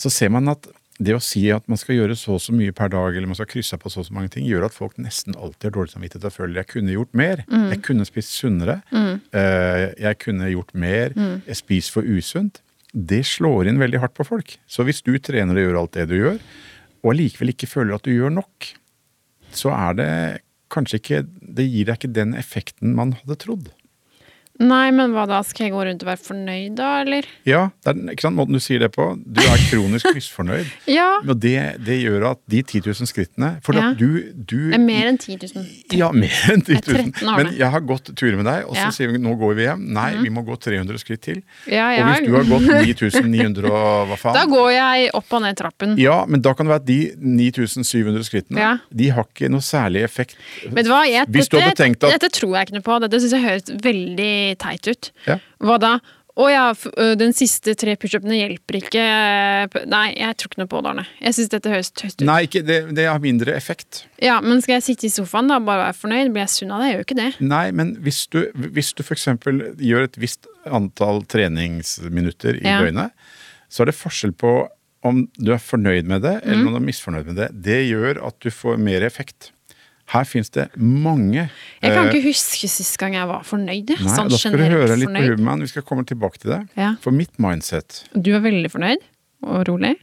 Så ser man at det å si at man skal gjøre så og så mye per dag, eller man skal krysse av på så og så mange ting, gjør at folk nesten alltid har dårlig samvittighet og føler jeg kunne gjort mer. Jeg kunne spist sunnere. eh, Jeg kunne gjort mer. Jeg spiser for usunt. Det slår inn veldig hardt på folk. Så hvis du trener og gjør alt det du gjør, og allikevel ikke føler at du gjør nok, så er det kanskje ikke Det gir deg ikke den effekten man hadde trodd.
Nei, men hva da? Skal jeg gå rundt og være fornøyd, da, eller?
Ja, det er den- ikke sant, måten du sier det på. Du er kronisk misfornøyd.
Ja.
Og det, det gjør at de 10 000 skrittene For
Ja.
at du, du
Det er mer enn 10 000.
Ja, mer enn 10
Jeg er
000.
13 år,
Men
nei.
jeg har gått turer med deg, og så
Ja. Mhm.
sier vi nå går vi hjem. Nei, vi må gå 300 skritt til.
Ja,
Og
jeg
hvis du har gått 9900 og hva faen
Da går jeg opp og ned trappen.
Ja, men da kan det være at de 9700 skrittene
Ja.
de har ikke noe særlig effekt.
Vet du hva, jeg,
Hvis du hadde
dette,
tenkt at-
dette tror jeg ikke noe på. Dette syns jeg høres veldig teit ut.
Ja.
Hva da? Å ja, f- ø, den siste tre pushupene hjelper ikke eh, p- Nei, jeg tror ikke noe på det, Arne. Jeg syns dette høres tøyst ut.
Nei, ikke, det, det har mindre effekt.
Ja, Men skal jeg sitte i sofaen da og bare være fornøyd? Blir jeg sunn av det? Jeg gjør jo ikke det.
Nei, men hvis du, hvis du f.eks. gjør et visst antall treningsminutter i
Ja.
døgnet, så er det forskjell på om du er fornøyd med det,
Mhm.
eller om du er misfornøyd med det. Det gjør at du får mer effekt. Her fins det mange
Jeg kan
eh,
ikke huske sist gang jeg var fornøyd. jeg.
Nei,
sånn
da skal du
generelt
høre litt på
fornøyd.
Human. Vi skal komme tilbake til det.
Ja.
For mitt mindset
Du er veldig fornøyd og rolig?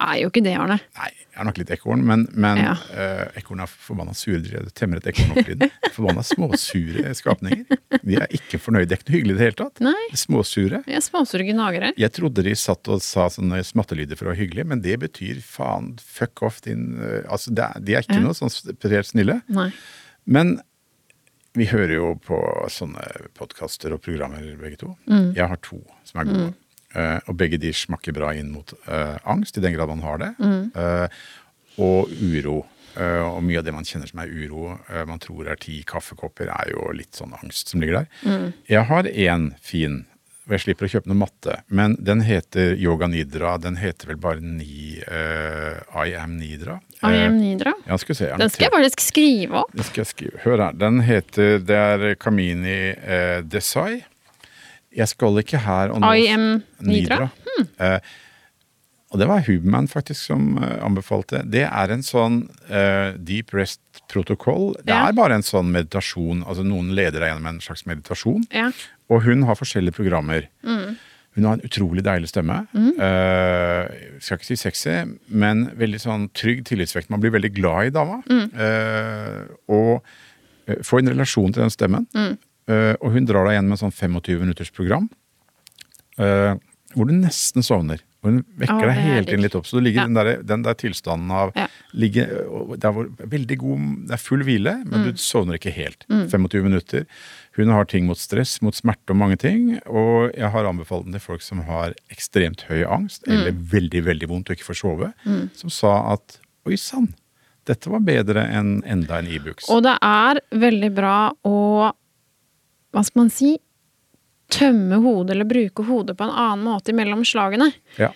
Er jo ikke det, Arne.
Nei, jeg er nok litt ekorn, men, men
Ja.
eh, ekorn er forbanna sure dyr. Jeg temmer et ekorn opp i den. Forbanna småsure skapninger. De er ikke fornøyde. Det er ikke noe hyggelig i det hele tatt.
Nei.
Småsure.
Jeg er småsure gnagere.
Jeg trodde de satt og sa sånne smattelyder for å være hyggelig, men det betyr faen fuck off din eh, Altså, det er, de er ikke
Ja.
noe sånn spesielt snille.
Nei.
Men vi hører jo på sånne podkaster og programmer, begge to.
Mm.
Jeg har to som er gode. Eh, og begge de smakker bra inn mot eh, angst, i den grad man har det.
Mm.
eh, og uro. Eh, og mye av det man kjenner som er uro, eh, man tror er ti kaffekopper, er jo litt sånn angst som ligger der.
Mm.
Jeg har én fin, og jeg slipper å kjøpe noe matte, men den heter Yoga Nidra. Den heter vel bare ni, eh, I Am Nidra.
I am
Eh,
Nidra.
ja, skal vi se. jeg har
Den skal jeg faktisk skrive opp.
det skal jeg skrive. Hør her. Den heter Det er Kamini eh, Desai. Jeg skal ikke her og nå
I am Nidra.
Eh, og det var Huberman faktisk som eh, anbefalte. Det er en sånn eh, deep rest-protokoll. Det
Ja.
er bare en sånn meditasjon. Altså noen leder deg gjennom en slags meditasjon.
Ja.
Og hun har forskjellige programmer. Hun har en utrolig deilig stemme. Eh, skal ikke si sexy, men veldig sånn trygg tillitsvekt. Man blir veldig glad i dama. Eh, og eh, får en relasjon til den stemmen. Eh, og hun drar deg igjen med sånn 25 minutters program. eh, hvor du nesten sovner. Og hun vekker
Å,
deg
det er
hele tiden
digg.
litt opp. Så du ligger
Ja.
i den der, den der tilstanden av
Ja.
ligge, og det, er hvor, veldig god, det er full hvile, men
Mm.
du sovner ikke helt. 25 minutter. Hun har ting mot stress, mot smerte og mange ting. Og jeg har anbefalt den til folk som har
Mm.
ekstremt høy angst eller veldig veldig vondt og ikke får sove, som sa at oi sann, dette var bedre enn enda en Ibux.
Og det er veldig bra å Hva skal man si? Tømme hodet eller bruke hodet på en annen måte mellom slagene.
Ja.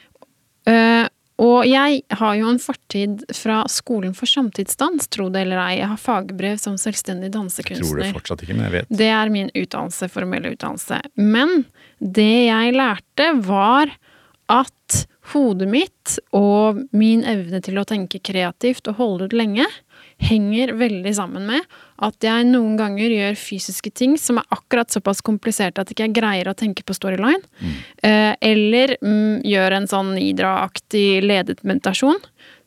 Eh, og jeg har jo en fortid fra Skolen for samtidsdans, tro det eller ei. Jeg har fagbrev som selvstendig
Jeg tror det
dansekunstner.
fortsatt ikke, men jeg vet.
Det er min utdannelse, formelle utdannelse. Men det jeg lærte, var at hodet mitt og min evne til å tenke kreativt og holde ut lenge henger veldig sammen med at jeg noen ganger gjør fysiske ting som er akkurat såpass kompliserte at ikke jeg greier å tenke på storyline. Eh, Eller mm, gjør en sånn Nidra-aktig ledet meditasjon.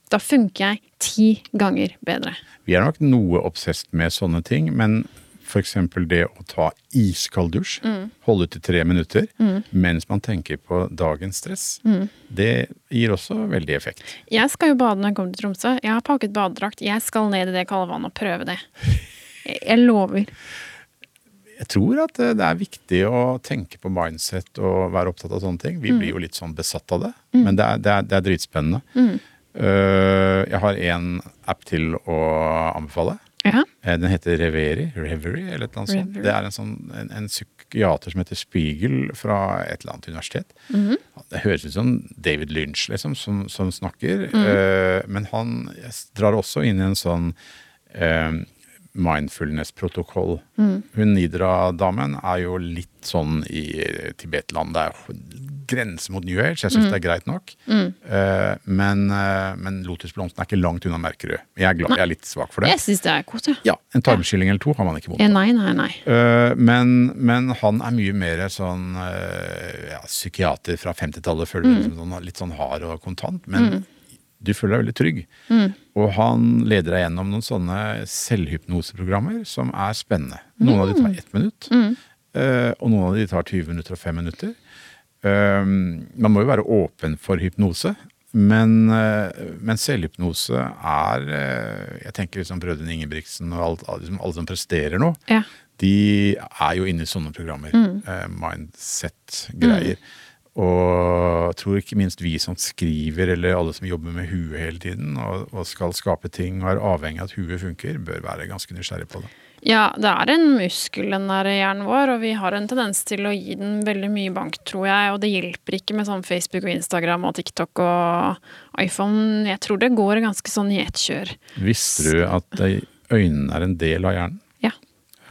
Da funker jeg ti ganger bedre.
Vi er nok noe obsesst med sånne ting, men f.eks. det å ta iskald dusj, holde ut i tre minutter mens man tenker på dagens stress, det gir også veldig effekt.
Jeg skal jo bade når jeg kommer til Tromsø. Jeg har pakket badedrakt. Jeg skal ned i det kalde vannet og prøve det. Jeg jeg lover.
Jeg tror at eh, det er viktig å tenke på mindset og være opptatt av sånne ting. Vi blir jo litt sånn besatt av det, men det er, det er, det er dritspennende. Eh, jeg har en app til å anbefale.
Ja.
Eh, Den heter Reverie, Reverie eller et eller annet sånt.
Reverie.
Det er en, sånn, en, en psykiater som heter Spiegel fra et eller annet universitet. Det høres ut som David Lynch liksom, som, som snakker, eh, men han drar også inn i en sånn eh, mindfulness-protokoll. Hun Nidra-damen er jo litt sånn i Tibetland, det er jo grense mot New Age, jeg syns det er greit nok. Eh, men, eh, men lotusblomsten er ikke langt unna Merkerød. Jeg er, glad, jeg er litt svak for det.
Jeg syns det er godt, ja.
Ja, en tarmskylling eller to har man ikke vondt
ja.
av.
Nei, nei, nei.
Eh, men, men han er mye mer sånn eh, ja, psykiater fra 50-tallet, føler du, liksom sånn, litt sånn hard og kontant, men du føler deg veldig trygg. Og han leder deg gjennom noen sånne selvhypnoseprogrammer som er spennende. Noen av de tar ett minutt, eh, og noen av de tar 20 minutter og 5 minutter. Eh, man må jo være åpen for hypnose, men, eh, men selvhypnose er eh, Jeg tenker liksom Brødrene Ingebrigtsen og alt, alle som- alle som presterer nå
Ja.
de er jo inne i sånne programmer.
Mm.
eh, Mindset-greier. Og jeg tror ikke minst vi som skriver, eller alle som jobber med huet hele tiden, og, og skal skape ting og er avhengig av at huet funker, bør være ganske nysgjerrig på det.
ja, det er en muskel, den der hjernen vår, og vi har en tendens til å gi den veldig mye bank, tror jeg. Og det hjelper ikke med sånn Facebook og Instagram og TikTok og iPhone. Jeg tror det går ganske sånn i ett kjør.
Visste du at de øynene er en del av hjernen?
Ja.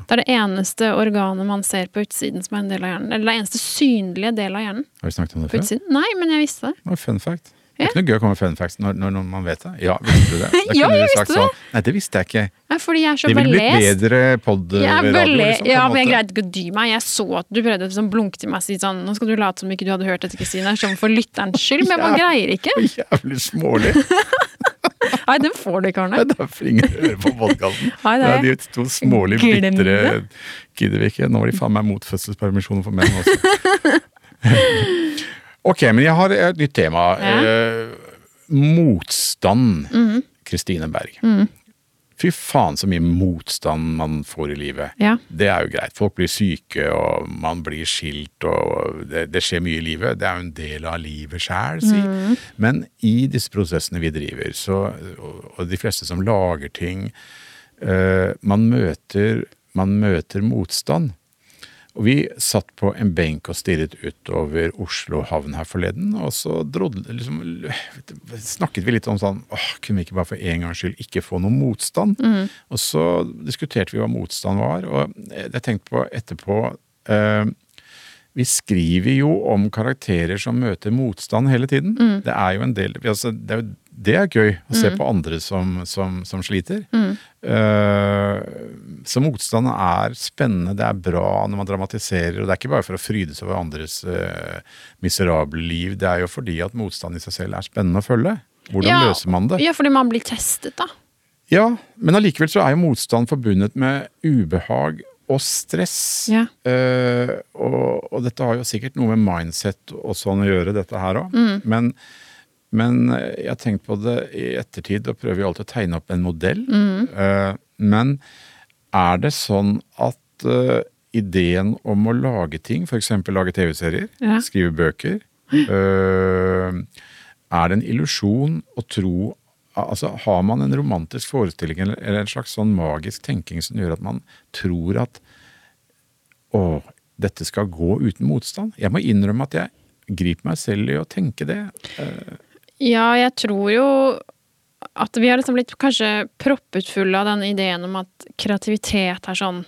Det er det eneste organet man ser på utsiden som er en del av hjernen. Eller det eneste synlige del av hjernen.
Har vi snakket om det
På
før?
utsiden? Nei, men jeg visste det.
Det var fun fact. Det
Ja.
er ikke noe gøy å komme med fun facts når, når, når man vet det. Ja, visste du det? Da
Ja,
kunne
jeg
du sagt
visste
sånn, Nei, det visste jeg ikke.
Nei, fordi jeg er så
Det ville blitt
belest.
bedre pod-radio.
Jeg er bele-
liksom, på en
ja, men jeg
måte.
greide ikke å dy meg. Jeg så at du prøvde å liksom blunke til meg og si sånn Nå skal du late som ikke du hadde hørt dette, Kristine. Som for lytterens skyld. Men man
Ja.
greier ikke.
Jævlig smålig.
Nei, den får du ikke,
Det
Arne.
er derfor ingen hører på podkasten.
Nei,
Det
det
er
er-
de to smålige,
Glem det.
bitre Gidder vi ikke. Nå var de faen meg mot fødselspermisjon for menn også. ok, men jeg har et nytt tema.
Ja. Mhm.
Eh, motstand. Kristine Berg. Fy faen så mye motstand man får i livet.
Ja.
Det er jo greit. Folk blir syke, og man blir skilt, og det, det skjer mye i livet. Det er jo en del av livet sjæl, si. Men i disse prosessene vi driver, så, og, og de fleste som lager ting, eh, man, møter, man møter motstand. Og vi satt på en benk og stirret utover Oslo havn her forleden, og så drodde, liksom, snakket vi litt om sånn åh, Kunne vi ikke bare for en gangs skyld ikke få noe motstand? Og så diskuterte vi hva motstand var, og jeg tenkte på etterpå eh, vi skriver jo om karakterer som møter motstand hele tiden. Det er jo en del altså, det, er, jo- det er gøy å se på andre som, som, som sliter. Eh, så motstand er spennende, det er bra når man dramatiserer. Og det er ikke bare for å fryde seg over andres eh, miserable liv, det er jo fordi at motstand i seg selv er spennende å følge. Hvordan
Ja,
løser man det?
Ja, fordi man blir testet, da.
Ja, men allikevel så er jo motstand forbundet med ubehag og stress.
Ja.
Eh, og, og dette har jo sikkert noe med mindset og sånn å gjøre, dette her òg. Men, men eh, jeg har tenkt på det i ettertid, og prøver jo alltid å tegne opp en modell. Eh, men er det sånn at eh, ideen om å lage ting, f.eks. lage TV-serier,
Ja.
skrive bøker eh, Er det en illusjon å tro altså, har man en romantisk forestilling eller, eller en slags sånn magisk tenking som gjør at man tror at å, dette skal gå uten motstand? Jeg må innrømme at jeg griper meg selv i å tenke det. Eh,
Ja, jeg tror jo at vi har liksom blitt kanskje proppet fulle av den ideen om at kreativitet er sånn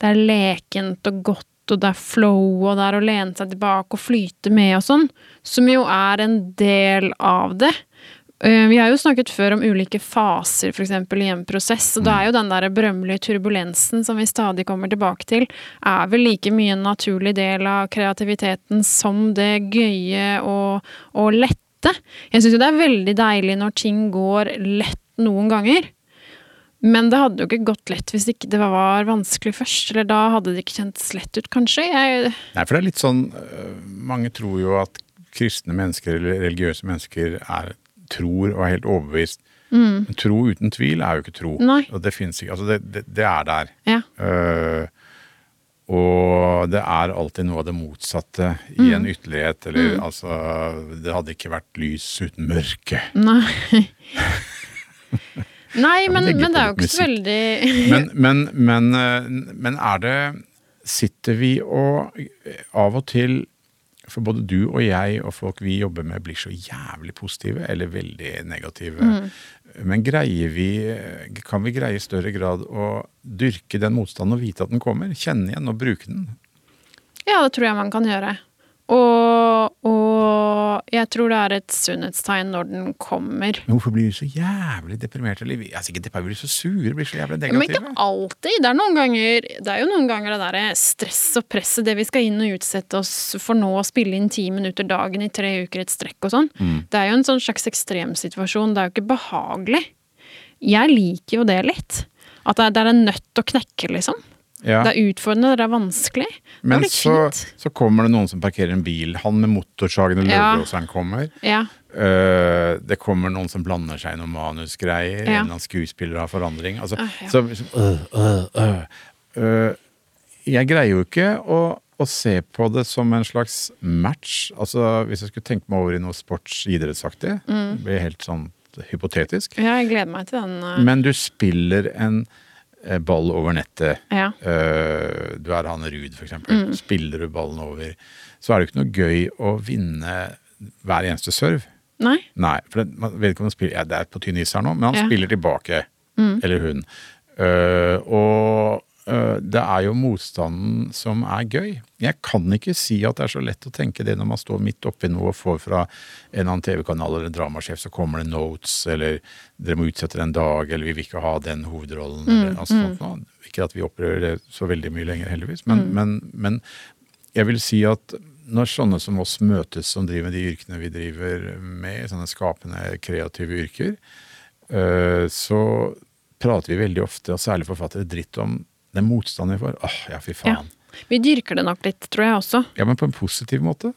Det er lekent og godt, og det er flow, og det er å lene seg tilbake og flyte med og sånn. Som jo er en del av det. Eh, Vi har jo snakket før om ulike faser for eksempel, i en prosess, og da er jo den der berømmelige turbulensen som vi stadig kommer tilbake til, er vel like mye en naturlig del av kreativiteten som det gøye og, og lette. Jeg syns jo det er veldig deilig når ting går lett noen ganger. Men det hadde jo ikke gått lett hvis ikke det var vanskelig først. Eller da hadde det ikke kjentes lett ut, kanskje. Jeg,
Nei, for det er litt sånn øh, Mange tror jo at kristne mennesker eller religiøse mennesker er, tror og er helt overbevist. Men tro uten tvil er jo ikke tro.
Nei.
Og det finnes ikke. Altså, det, det, det er der.
ja.
Øh, og det er alltid noe av det motsatte i en ytterlighet. Eller altså Det hadde ikke vært lys uten mørke.
Nei. Nei, men,
legger
men det er jo
på
ikke så veldig
Men, men, men, eh, men er det Sitter vi og av og til For både du og jeg og folk vi jobber med, blir så jævlig positive eller veldig negative.
Mm.
Men greier vi eh, Kan vi greie i større grad å dyrke den motstanden og vite at den kommer? Kjenne igjen og bruke den?
Ja, det tror jeg man kan gjøre. Og, og jeg tror det er et sunnhetstegn når den kommer.
Men hvorfor blir vi så jævlig deprimerte? Eller vi- altså ikke deprimerte, vi blir så sure, blir så jævlig
Men ikke
negative.
alltid. Det er, noen ganger, det er jo noen ganger det derre stress og presset, det vi skal inn og utsette oss for nå å spille inn ti minutter dagen i tre uker et strekk og sånn.
Mm.
Det er jo en sånn slags ekstremsituasjon. Det er jo ikke behagelig. Jeg liker jo det litt. At det er, det er en nøtt å knekke, liksom.
Ja.
Det er utfordrende, det er vanskelig.
Men
det er litt
så,
fint.
så kommer det noen som parkerer en bil. Han med motorsagen og
Ja.
løvblåseren kommer.
Ja.
Eh, det kommer noen som blander seg i noen manusgreier. En eller
Ja.
annen skuespiller har forandring. Altså,
Ah, ja.
så, så, øh, øh, øh. Eh, jeg greier jo ikke å, å se på det som en slags match. Altså, hvis jeg skulle tenke meg over i noe sports-idrettsaktig,
Mm.
det blir helt sånn hypotetisk.
ja, jeg gleder meg til den. eh,
Men du spiller en eh, ball over nettet.
Ja. Mm.
Eh, du er han Ruud, for eksempel. Spiller du ballen over, så er det jo ikke noe gøy å vinne hver eneste serve.
Nei.
Nei, for det, man vet ikke om han spiller ja, Det er på tynn is her nå, men han
Ja.
spiller tilbake. Eller hun. Eh, og eh, det er jo motstanden som er gøy. Jeg kan ikke si at det er så lett å tenke det når man står midt oppi noe og får fra en eller annen TV-kanal eller en dramasjef, så kommer det notes, eller dere må utsette det en dag, eller vi vil ikke ha den hovedrollen, eller altså, sånt noe. Ikke at vi opplever det så veldig mye lenger, heldigvis, men, men, men jeg vil si at når sånne som oss møtes, som driver med de yrkene vi driver med, sånne skapende, kreative yrker, øh, så prater vi veldig ofte, og særlig forfattere, dritt om den motstanden vi får. Åh, ja, fy
Ja.
faen.
Vi dyrker det nok litt, tror jeg også.
Ja. men på en positiv måte.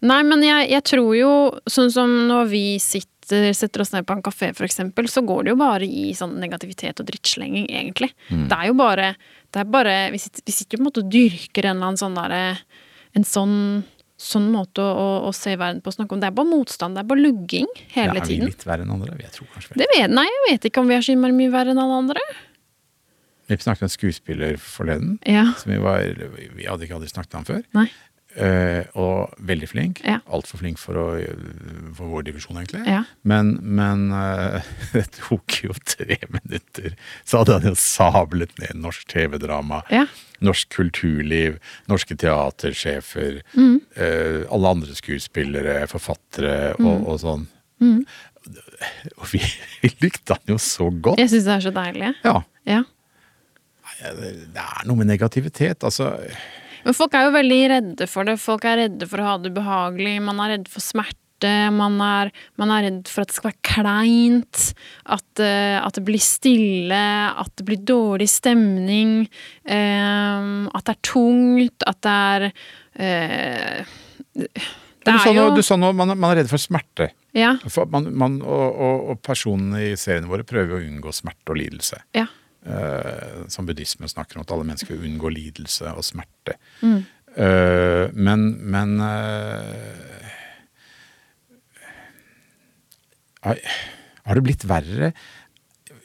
Nei, men jeg, jeg tror jo, sånn som når vi sitter, setter oss ned på en kafé for eksempel, så går det jo bare i sånn negativitet og drittslenging, egentlig.
Mm.
Det er jo bare, det er bare vi, sitter, vi sitter jo på en måte og dyrker en eller annen sånn derre En sånn, sånn måte å, å, å se verden på og snakke om. Det er bare motstand, det er bare lugging
Ja,
hele
er vi
tiden.
litt verre enn andre? Jeg tror kanskje vi er.
Det vet, nei, jeg vet ikke om vi er så innmari mye verre enn alle andre.
Vi snakket med en skuespiller forleden,
Ja.
som vi, var, vi hadde ikke aldri snakket med ham før.
Nei.
Eh, og veldig flink.
Ja.
Altfor flink for, å, for vår divisjon, egentlig.
Ja.
Men, men eh, det tok jo tre minutter, så hadde han jo sablet ned norsk TV-drama.
Ja.
Norsk kulturliv, norske teatersjefer,
Mm.
eh, alle andre skuespillere, forfattere
Mm.
og, og sånn. Og vi, vi likte han jo så godt.
Jeg syns det er så deilig. jeg.
Ja.
Ja.
Det er noe med negativitet. Altså,
Men folk er jo veldig redde for det. Folk er redde for å ha det ubehagelig. Man er redd for smerte. Man er, man er redd for at det skal være kleint. At, eh, at det blir stille. At det blir dårlig stemning. eh, at det er tungt. At det er eh, Det
du, sa
er jo
noe, du sa noe, man, er- man er redd for smerte.
Ja.
For man, man, og, og, og personene i seriene våre prøver å unngå smerte og lidelse.
ja.
Eh, som buddhismen snakker om, at alle mennesker vil unngå lidelse og smerte. Eh, men men eh, har, har det blitt verre?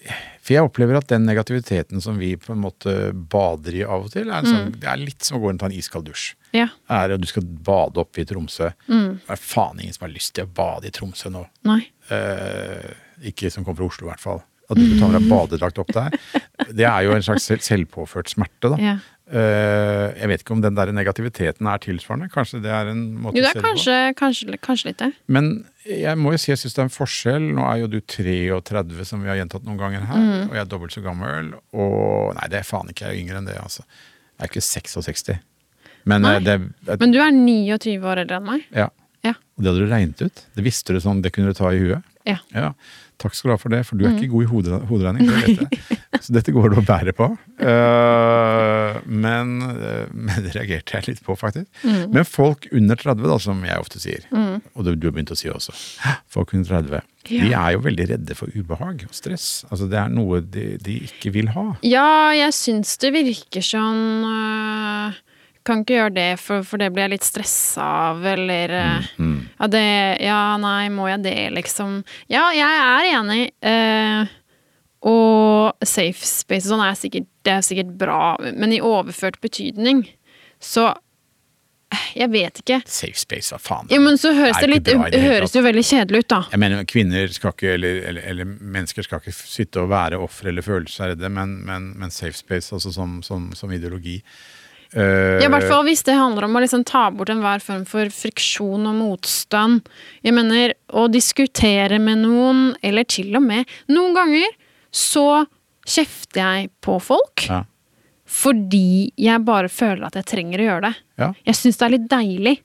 For jeg opplever at den negativiteten som vi på en måte bader i av og til, er, en sånn, det er litt som å gå inn og ta en iskald dusj.
Ja.
Er, du skal bade oppe i Tromsø. Det er faen ingen som har lyst til å bade i Tromsø nå.
Nei.
Eh, ikke som kommer fra Oslo, i hvert fall. At du tar med deg badedrakt opp der. Det er jo en slags selv- selvpåført smerte, da.
Ja.
Eh, jeg vet ikke om den der negativiteten er tilsvarende. Kanskje det er en måte
Jo, det
å se
er
det på.
kanskje, kanskje, kanskje litt det.
Men jeg må jo si jeg syns det er en forskjell. Nå er jo du 33, som vi har gjentatt noen ganger her,
Mm.
og jeg er dobbelt så gammel. Og nei, det er faen ikke jeg er yngre enn det, altså. Jeg er ikke 66. Men
Nei.
eh, det, det
Men du er 29 år eldre enn meg.
Ja.
Ja.
Og det hadde du regnet ut. Det visste du sånn, det kunne du ta i huet.
Ja.
Takk skal du ha for det, for du er
Mm.
ikke god i hode, hoderegning. Det vet jeg. Så dette går det å bære på. Eh, men, eh, men det reagerte jeg litt på, faktisk.
Mm.
Men folk under 30, da, som jeg ofte sier, og det du har begynt å si også, «Hæ, folk under 30, de
Ja.
er jo veldig redde for ubehag og stress. Altså, det er noe de, de ikke vil ha.
Ja, jeg syns det virker sånn øh, Kan ikke gjøre det, for, for det blir jeg litt stressa av, eller øh,
Mm,
ja, det, ja, nei, må jeg det, liksom? Ja, jeg er enig. øh, og safe space og sånn er sikkert, det er sikkert bra, men i overført betydning, så eh, Jeg vet ikke.
Safe space, hva faen?
Jo, men så høres
Er
det
ikke
litt
bra i det hele
høres det jo veldig kjedelig ut, da.
Jeg mener, kvinner skal ikke, eller, eller, eller mennesker skal ikke sitte og være ofre eller føle seg redde, men, men, men safe space altså som, som, som ideologi Eh,
Ja, i hvert fall hvis det handler om å liksom ta bort enhver form for friksjon og motstand. Jeg mener, å diskutere med noen, eller til og med Noen ganger så kjefter jeg på folk
Eh, Ja.
fordi jeg bare føler at jeg trenger å gjøre det.
Ja.
Jeg syns det er litt deilig.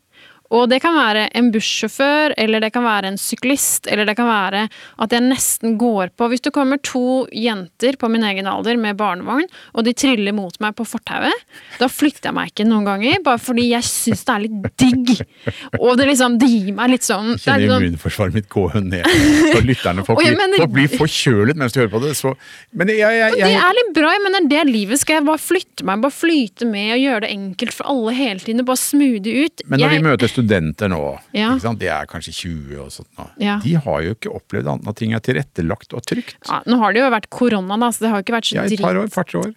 Og det kan være en bussjåfør, eller det kan være en syklist, eller det kan være at jeg nesten går på Hvis det kommer to jenter på min egen alder med barnevogn, og de triller mot meg på fortauet, da flytter jeg meg ikke noen ganger, bare fordi jeg syns det er litt digg. Og det liksom, det gir meg litt sånn
Jeg
det er
Kjenner
litt sånn-
immunforsvaret mitt gå ned. For lytterne folk,
Og jeg
blir-
mener-
folk blir forkjølet mens de hører på det. Så, men jeg, jeg, jeg,
Det er litt bra, jeg mener det er livet. Skal jeg bare flytte meg, bare flyte med og gjøre det enkelt for alle hele tiden? og Bare smoothie ut?
men når
jeg,
vi møter studenter nå,
Ja.
ikke sant? de er kanskje 20 og sånt nå,
Ja.
de har jo ikke opplevd annet enn at ting er tilrettelagt og trygt.
ja, nå har det jo vært korona, da, så det har jo ikke vært så
Ja, i et
drit,
par år, par-tre år.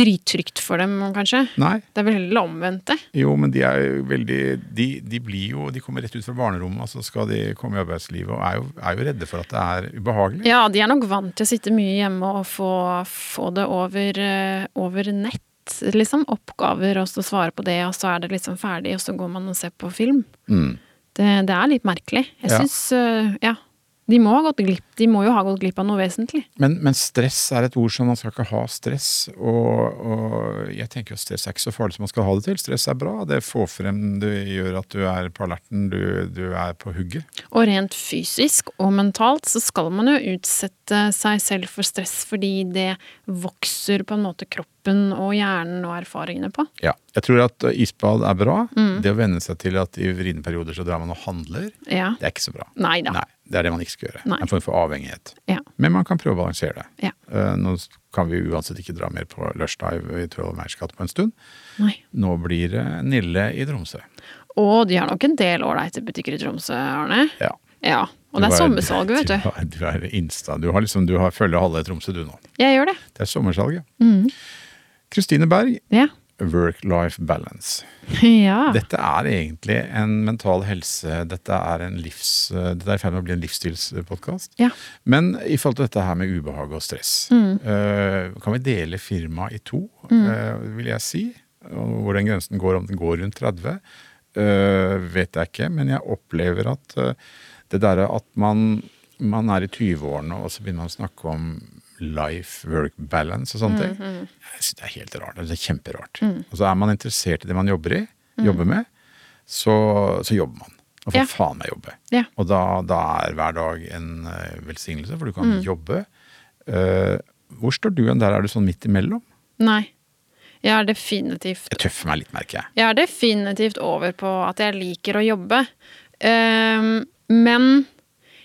drittrygt for dem, kanskje.
Nei.
Det er vel heller omvendt, det.
Jo, men de er jo veldig de, de blir jo De kommer rett ut fra barnerommet, og så skal de komme i arbeidslivet, og er jo, er jo redde for at det er ubehagelig.
Ja, de er nok vant til å sitte mye hjemme og få, få det over, eh, over nett. Liksom oppgaver, og så svare på det, og så er det liksom ferdig, og så går man og ser på film. Det, det er litt merkelig. Jeg
Mm. Ja.
syns eh, Ja. De må, ha gått glipp, de må jo ha gått glipp av noe vesentlig.
Men, men stress er et ord som man skal ikke ha stress. Og, og jeg tenker jo stress er ikke så farlig som man skal ha det til. Stress er bra. Det får frem, det gjør at du er på alerten, du, du er på hugget.
Og rent fysisk og mentalt så skal man jo utsette seg selv for stress fordi det vokser på en måte kroppen og hjernen og erfaringene på.
Ja. Jeg tror at isbad er bra. Det å venne seg til at i vriene perioder så drar man og handler,
Ja.
det er ikke så bra.
Nei da.
Nei, Det er det man ikke skal gjøre.
Nei.
En form for avhengighet.
Ja.
Men man kan prøve å balansere det.
Ja.
Eh, nå kan vi uansett ikke dra mer på Lushdive i Troll og Meyers gate på en stund.
Nei.
Nå blir det Nille i Tromsø.
Og de har nok en del ålreite butikker i Tromsø, Arne.
Ja.
Ja. Og det
Du
er sommersalget, vet
Du
du.
er, du er insta. Du har liksom, du har følger halve Tromsø du nå.
Jeg gjør det.
Det er sommersalget.
Mm.
Kristine Berg,
Ja.
Work-Life Balance.
ja.
Dette er egentlig en mental helse, dette er en livs... eh, Dette er i ferd med å bli en livsstilspodkast.
ja.
Men i forhold til dette her med ubehag og stress, eh, kan vi dele firmaet i to, eh, vil jeg si. Og hvor den grensen går, om den går rundt 30, eh, vet jeg ikke. Men jeg opplever at eh, det derre at man, man er i 20-årene, og så begynner man å snakke om life-work balance og sånne ting. Jeg synes det er helt rart. Det er kjemperart. Og så er man interessert i det man jobber i, jobber med, så, så jobber man. Og får
Ja.
faen meg jobbe.
Ja.
Og da, da er hver dag en eh, velsignelse, for du kan
Mm.
jobbe. Eh, hvor står du hen der? Er du sånn midt imellom?
Nei. Jeg er definitivt
Jeg tøffer meg litt, merker jeg.
Jeg er definitivt over på at jeg liker å jobbe. Ehm, men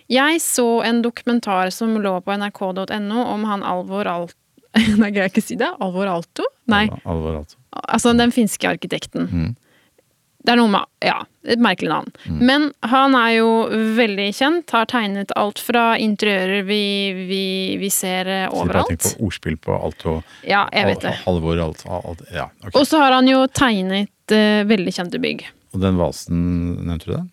jeg så en dokumentar som lå på nrk.no om han Alvor Alt... Nei, greier jeg ikke å si det? Alvor Alto? Nei,
Alvor, altså.
altså den finske arkitekten. Det er noe med Ja, et merkelig navn.
Mm.
Men han er jo veldig kjent. Har tegnet alt fra interiører vi, vi, vi ser eh,
Så jeg bare
overalt.
tenker på ordspill på alt og
Ja, jeg vet det.
al- alvor alt, alt. Ja, ok.
Og så har han jo tegnet eh, veldig kjente bygg.
Og den vasen, nevnte du den?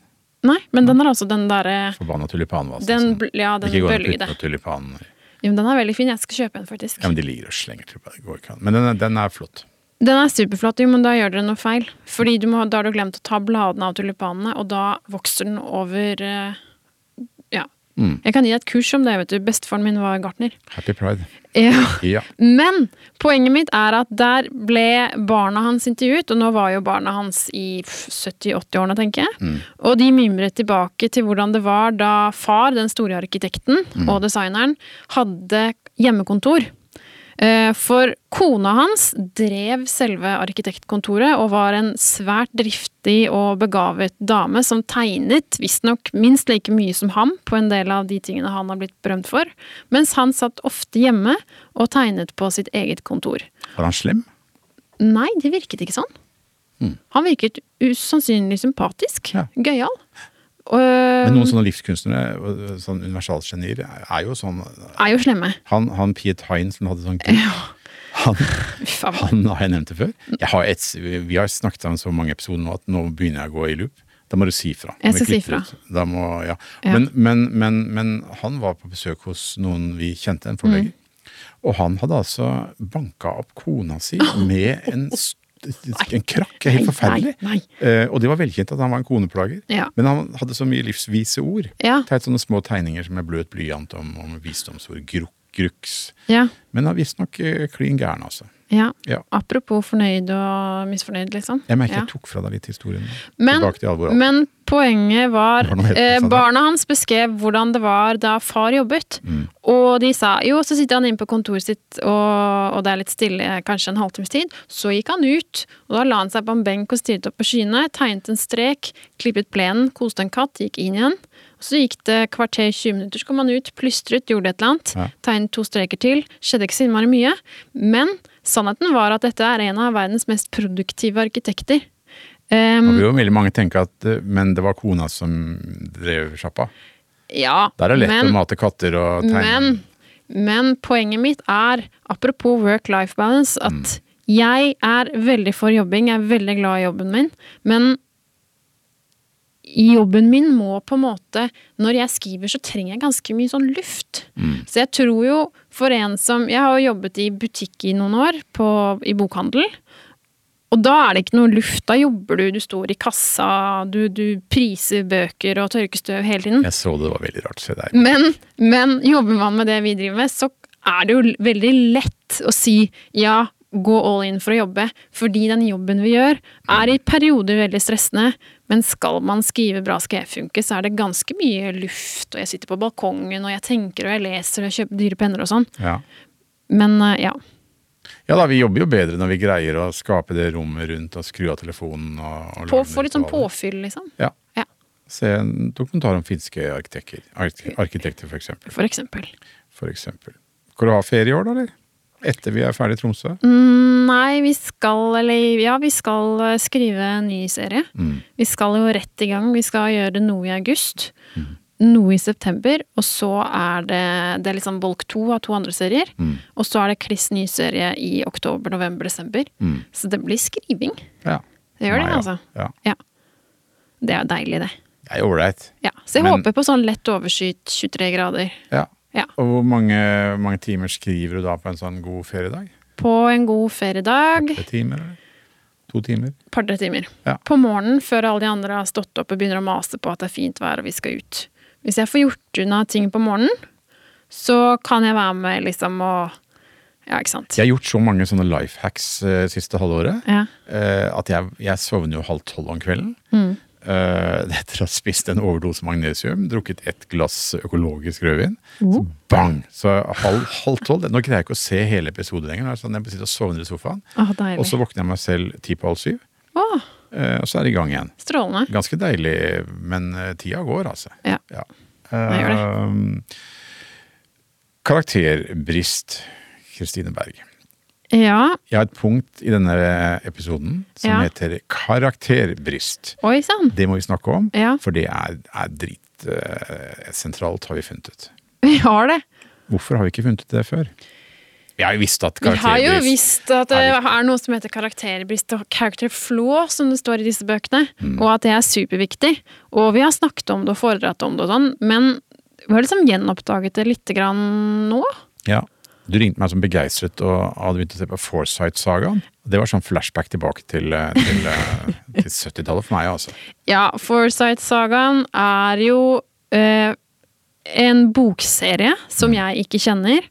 Nei, men den er altså den derre
Forbanna tulipanvasen.
den,
som
bl- Ja, den
ikke går an å putte
bølgede.
noe tulipaner i.
Jo, men den er veldig fin. Jeg skal kjøpe en, faktisk.
Ja, men de ligger og slenger tulipaner. Det går ikke an. Men den er, den er flott.
Den er superflott, jo, men da gjør dere noe feil. Fordi du må, da har du glemt å ta bladene av tulipanene, og da vokser den over eh, Ja.
Mm.
Jeg kan gi deg et kurs om det, vet du. Bestefaren min var gartner.
Happy pride.
Ja.
Ja.
Men poenget mitt er at der ble barna hans intervjuet, og nå var jo barna hans i 70-80-årene, tenker jeg.
Mm.
Og de mimret tilbake til hvordan det var da far, den store arkitekten
Mm.
og designeren, hadde hjemmekontor. Eh, For kona hans drev selve arkitektkontoret og var en svært driftig og begavet dame som tegnet visstnok minst like mye som ham på en del av de tingene han har blitt berømt for, mens han satt ofte hjemme og tegnet på sitt eget kontor.
Var han slem?
Nei, det virket ikke sånn. Han virket usannsynlig sympatisk.
Mm. Ja.
Gøyal. Og eh,
Men noen sånne livskunstnere, sånn universalgenier, er jo sånn
er jo slemme.
Han, han Piet Hein som hadde sånn krig, han,
Uff, av-
han har jeg nevnt det før. Jeg har et, vi har snakket om så mange episoder nå at nå begynner jeg å gå i loop. Da må du si fra. Må vi
Jeg skal si
klippe det
fra.
ut. Da må, ja.
Ja.
Men, men, men, men han var på besøk hos noen vi kjente, en forlegger.
Mm.
Og han hadde altså banka opp kona si med en, s- en krakk. Det er Helt
Nei,
forferdelig.
nei,
Eh, og det var velkjent at han var en koneplager.
Ja.
Men han hadde så mye livsvise ord.
Ja.
Tegnet sånne små tegninger som med bløt blyant om, om visdomsord. Gruk, gruks.
Ja,
Men han er visstnok eh, klin gæren, altså.
ja.
Ja.
Apropos fornøyd og misfornøyd, liksom.
Jeg merker
Ja.
jeg tok fra deg litt historien.
Men-
Tilbake til alvoret.
Men poenget var
Det var noe helt
eh,
motsatt der.
Barna hans beskrev hvordan det var da far jobbet.
Mm.
Og de sa jo, så sitter han inne på kontoret sitt, og, og det er litt stille eh, kanskje en halvtimes tid. Så gikk han ut, og da la han seg på en benk og stirret opp på skyene. Tegnet en strek, klippet plenen, koste en katt, gikk inn igjen. Så gikk det kvarter 20 minutter, så kom han ut, plystret, gjorde et eller annet.
Ja.
Tegnet to streker til. Skjedde ikke så innmari mye. Men sannheten var at dette er en av verdens mest produktive arkitekter.
Nå
Um,
vil jo veldig mange tenke at eh, men det var kona som drev sjappa.
ja,
Der er det lett
men,
å mate katter og tegne.
Men, men poenget mitt er, apropos work-life balance, at
Mm.
jeg er veldig for jobbing. Jeg er veldig glad i jobben min. Men jobben min må på en måte Når jeg skriver, så trenger jeg ganske mye sånn luft.
Mm.
Så jeg tror jo for en som Jeg har jo jobbet i butikk i noen år, på, i bokhandel. Og da er det ikke noe luft. Da jobber du, du står i kassa, du, du priser bøker og tørker støv hele tiden.
Jeg så det var veldig rart. Se der.
Men, men jobber man med det vi driver med, så er det jo l- veldig lett å si ja, gå all in for å jobbe, fordi den jobben vi gjør, er i perioder veldig stressende. Men skal man skrive bra skal jeg funke, så er det ganske mye luft, og jeg sitter på balkongen, og jeg tenker, og jeg leser, og jeg kjøper dyre penner og sånn.
Ja.
Men eh, ja.
ja da, vi jobber jo bedre når vi greier å skape det rommet rundt og skru av telefonen og, og
På,
lage
få litt sånn
ritualer.
påfyll, liksom.
Ja.
Ja,
Se en dokumentar om finske arkitekter, ark- arkitekter for, eksempel,
for eksempel.
for eksempel. Skal du ha ferie i år, da, eller? Etter vi er ferdig i Tromsø?
Mm, Nei, vi skal, eller ja, vi skal eh, skrive en ny serie.
Mm.
Vi skal jo rett i gang. Vi skal gjøre noe i august,
Mm.
noe i september, og så er det, det er liksom bolk to av to andre serier.
Mm.
Og så er det kliss ny serie i oktober, november, desember. Så det blir skriving.
Ja.
Det gjør
Nei,
det,
Mm. ja.
altså.
Ja.
Ja. Det er jo deilig, det.
Det er jo ålreit.
Ja. Så jeg
Men-
håper på sånn lett overskyet 23 grader.
Ja.
Ja.
Og hvor mange, mange timer skriver du da på en sånn god feriedag?
På en god feriedag.
Tre timer, eller? To timer?
par-tre timer.
Ja.
På morgenen, før alle de andre har stått opp og begynner å mase på at det er fint vær og vi skal ut. Hvis jeg får gjort unna ting på morgenen, så kan jeg være med liksom og Ja, ikke sant.
Jeg har gjort så mange sånne life hacks eh, siste halvåret
Ja.
eh, at jeg, jeg sovner jo halv tolv om kvelden. Eh, etter å ha spist en overdose magnesium, drukket ett glass økologisk rødvin. Så bang! Så halv, halv tolv Nå greier jeg ikke å se hele episoden lenger. nå er det Sånn, jeg sitter og sovner i sofaen,
Å,
og
deilig.
så våkner jeg meg selv ti på halv syv.
Å,
eh, og så er det i gang igjen.
strålende.
Ganske deilig, men eh, tida går, altså.
Ja.
Ja.
gjør det.
Ehm, karakterbrist, Kristine Berg.
Ja.
Jeg har et punkt i denne episoden som
Ja.
heter karakterbryst.
Oi sann.
Det må vi snakke om,
Ja.
for det er, er dritsentralt, har vi funnet ut.
Vi har det.
Hvorfor har vi ikke funnet ut det før? Vi har jo visst at
Vi har jo
karakterbryst
visst at det
er
er noe som heter karakterbrist og character flaw, som det står i disse bøkene,
Mm.
og at det er superviktig. Og vi har snakket om det og foredratt om det og sånn, men vi har liksom gjenoppdaget det lite grann nå.
ja. Du ringte meg som begeistret og hadde begynt å se på Foresight-sagaen. Det var sånn flashback tilbake til, eh, til, eh, til 70-tallet for meg, altså.
Ja, Foresight-sagaen er jo eh, en bokserie
Mm.
som jeg ikke kjenner.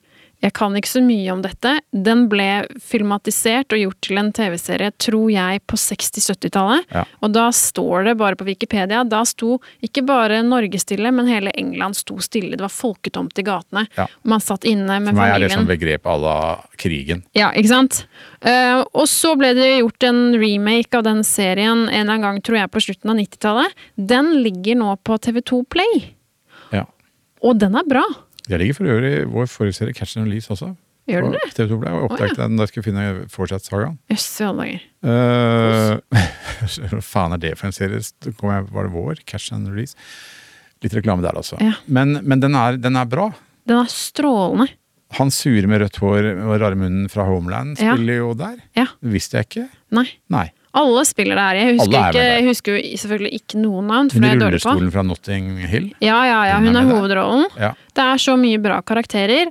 Jeg kan ikke så mye om dette. Den ble filmatisert og gjort til en TV-serie, tror jeg, på 60-70-tallet.
Ja.
Og da står det bare på Wikipedia Da sto ikke bare Norge stille, men hele England sto stille. Det var folketomt i gatene.
Ja.
Man satt inne med
For meg er det
familien.
sånn begrep à la krigen.
Ja, ikke sant? Eh, og så ble det gjort en remake av den serien en eller annen gang, tror jeg, på slutten av 90-tallet. Den ligger nå på TV2 Play,
Ja.
og den er bra.
Det ligger for øvrig i vår forrige serie, Catch and Release, også.
Gjør den
På TV2 Play, og jeg oppdaget den da jeg skulle finne Foresight-sagaen.
Jøss i alle dager.
Eh, Hva faen er det for en serie? Så Kom jeg, var det vår? Cash and Release? Litt reklame der, altså.
Ja.
Men, men den, er, den er bra.
Den er strålende.
Han sure med rødt hår og rare munnen fra Homeland
Ja.
spiller jo der.
Ja.
Det visste jeg ikke.
Nei.
Nei.
Alle spiller der. Jeg husker,
Alle er med
ikke,
der.
jeg husker jo selvfølgelig ikke noen navn, for
Hun i
det er jeg dårlig på.
rullestolen fra Notting Hill.
Ja, ja, ja.
Hun
Hun
er
er
med der.
hovedrollen.
Ja.
Det er så mye bra karakterer,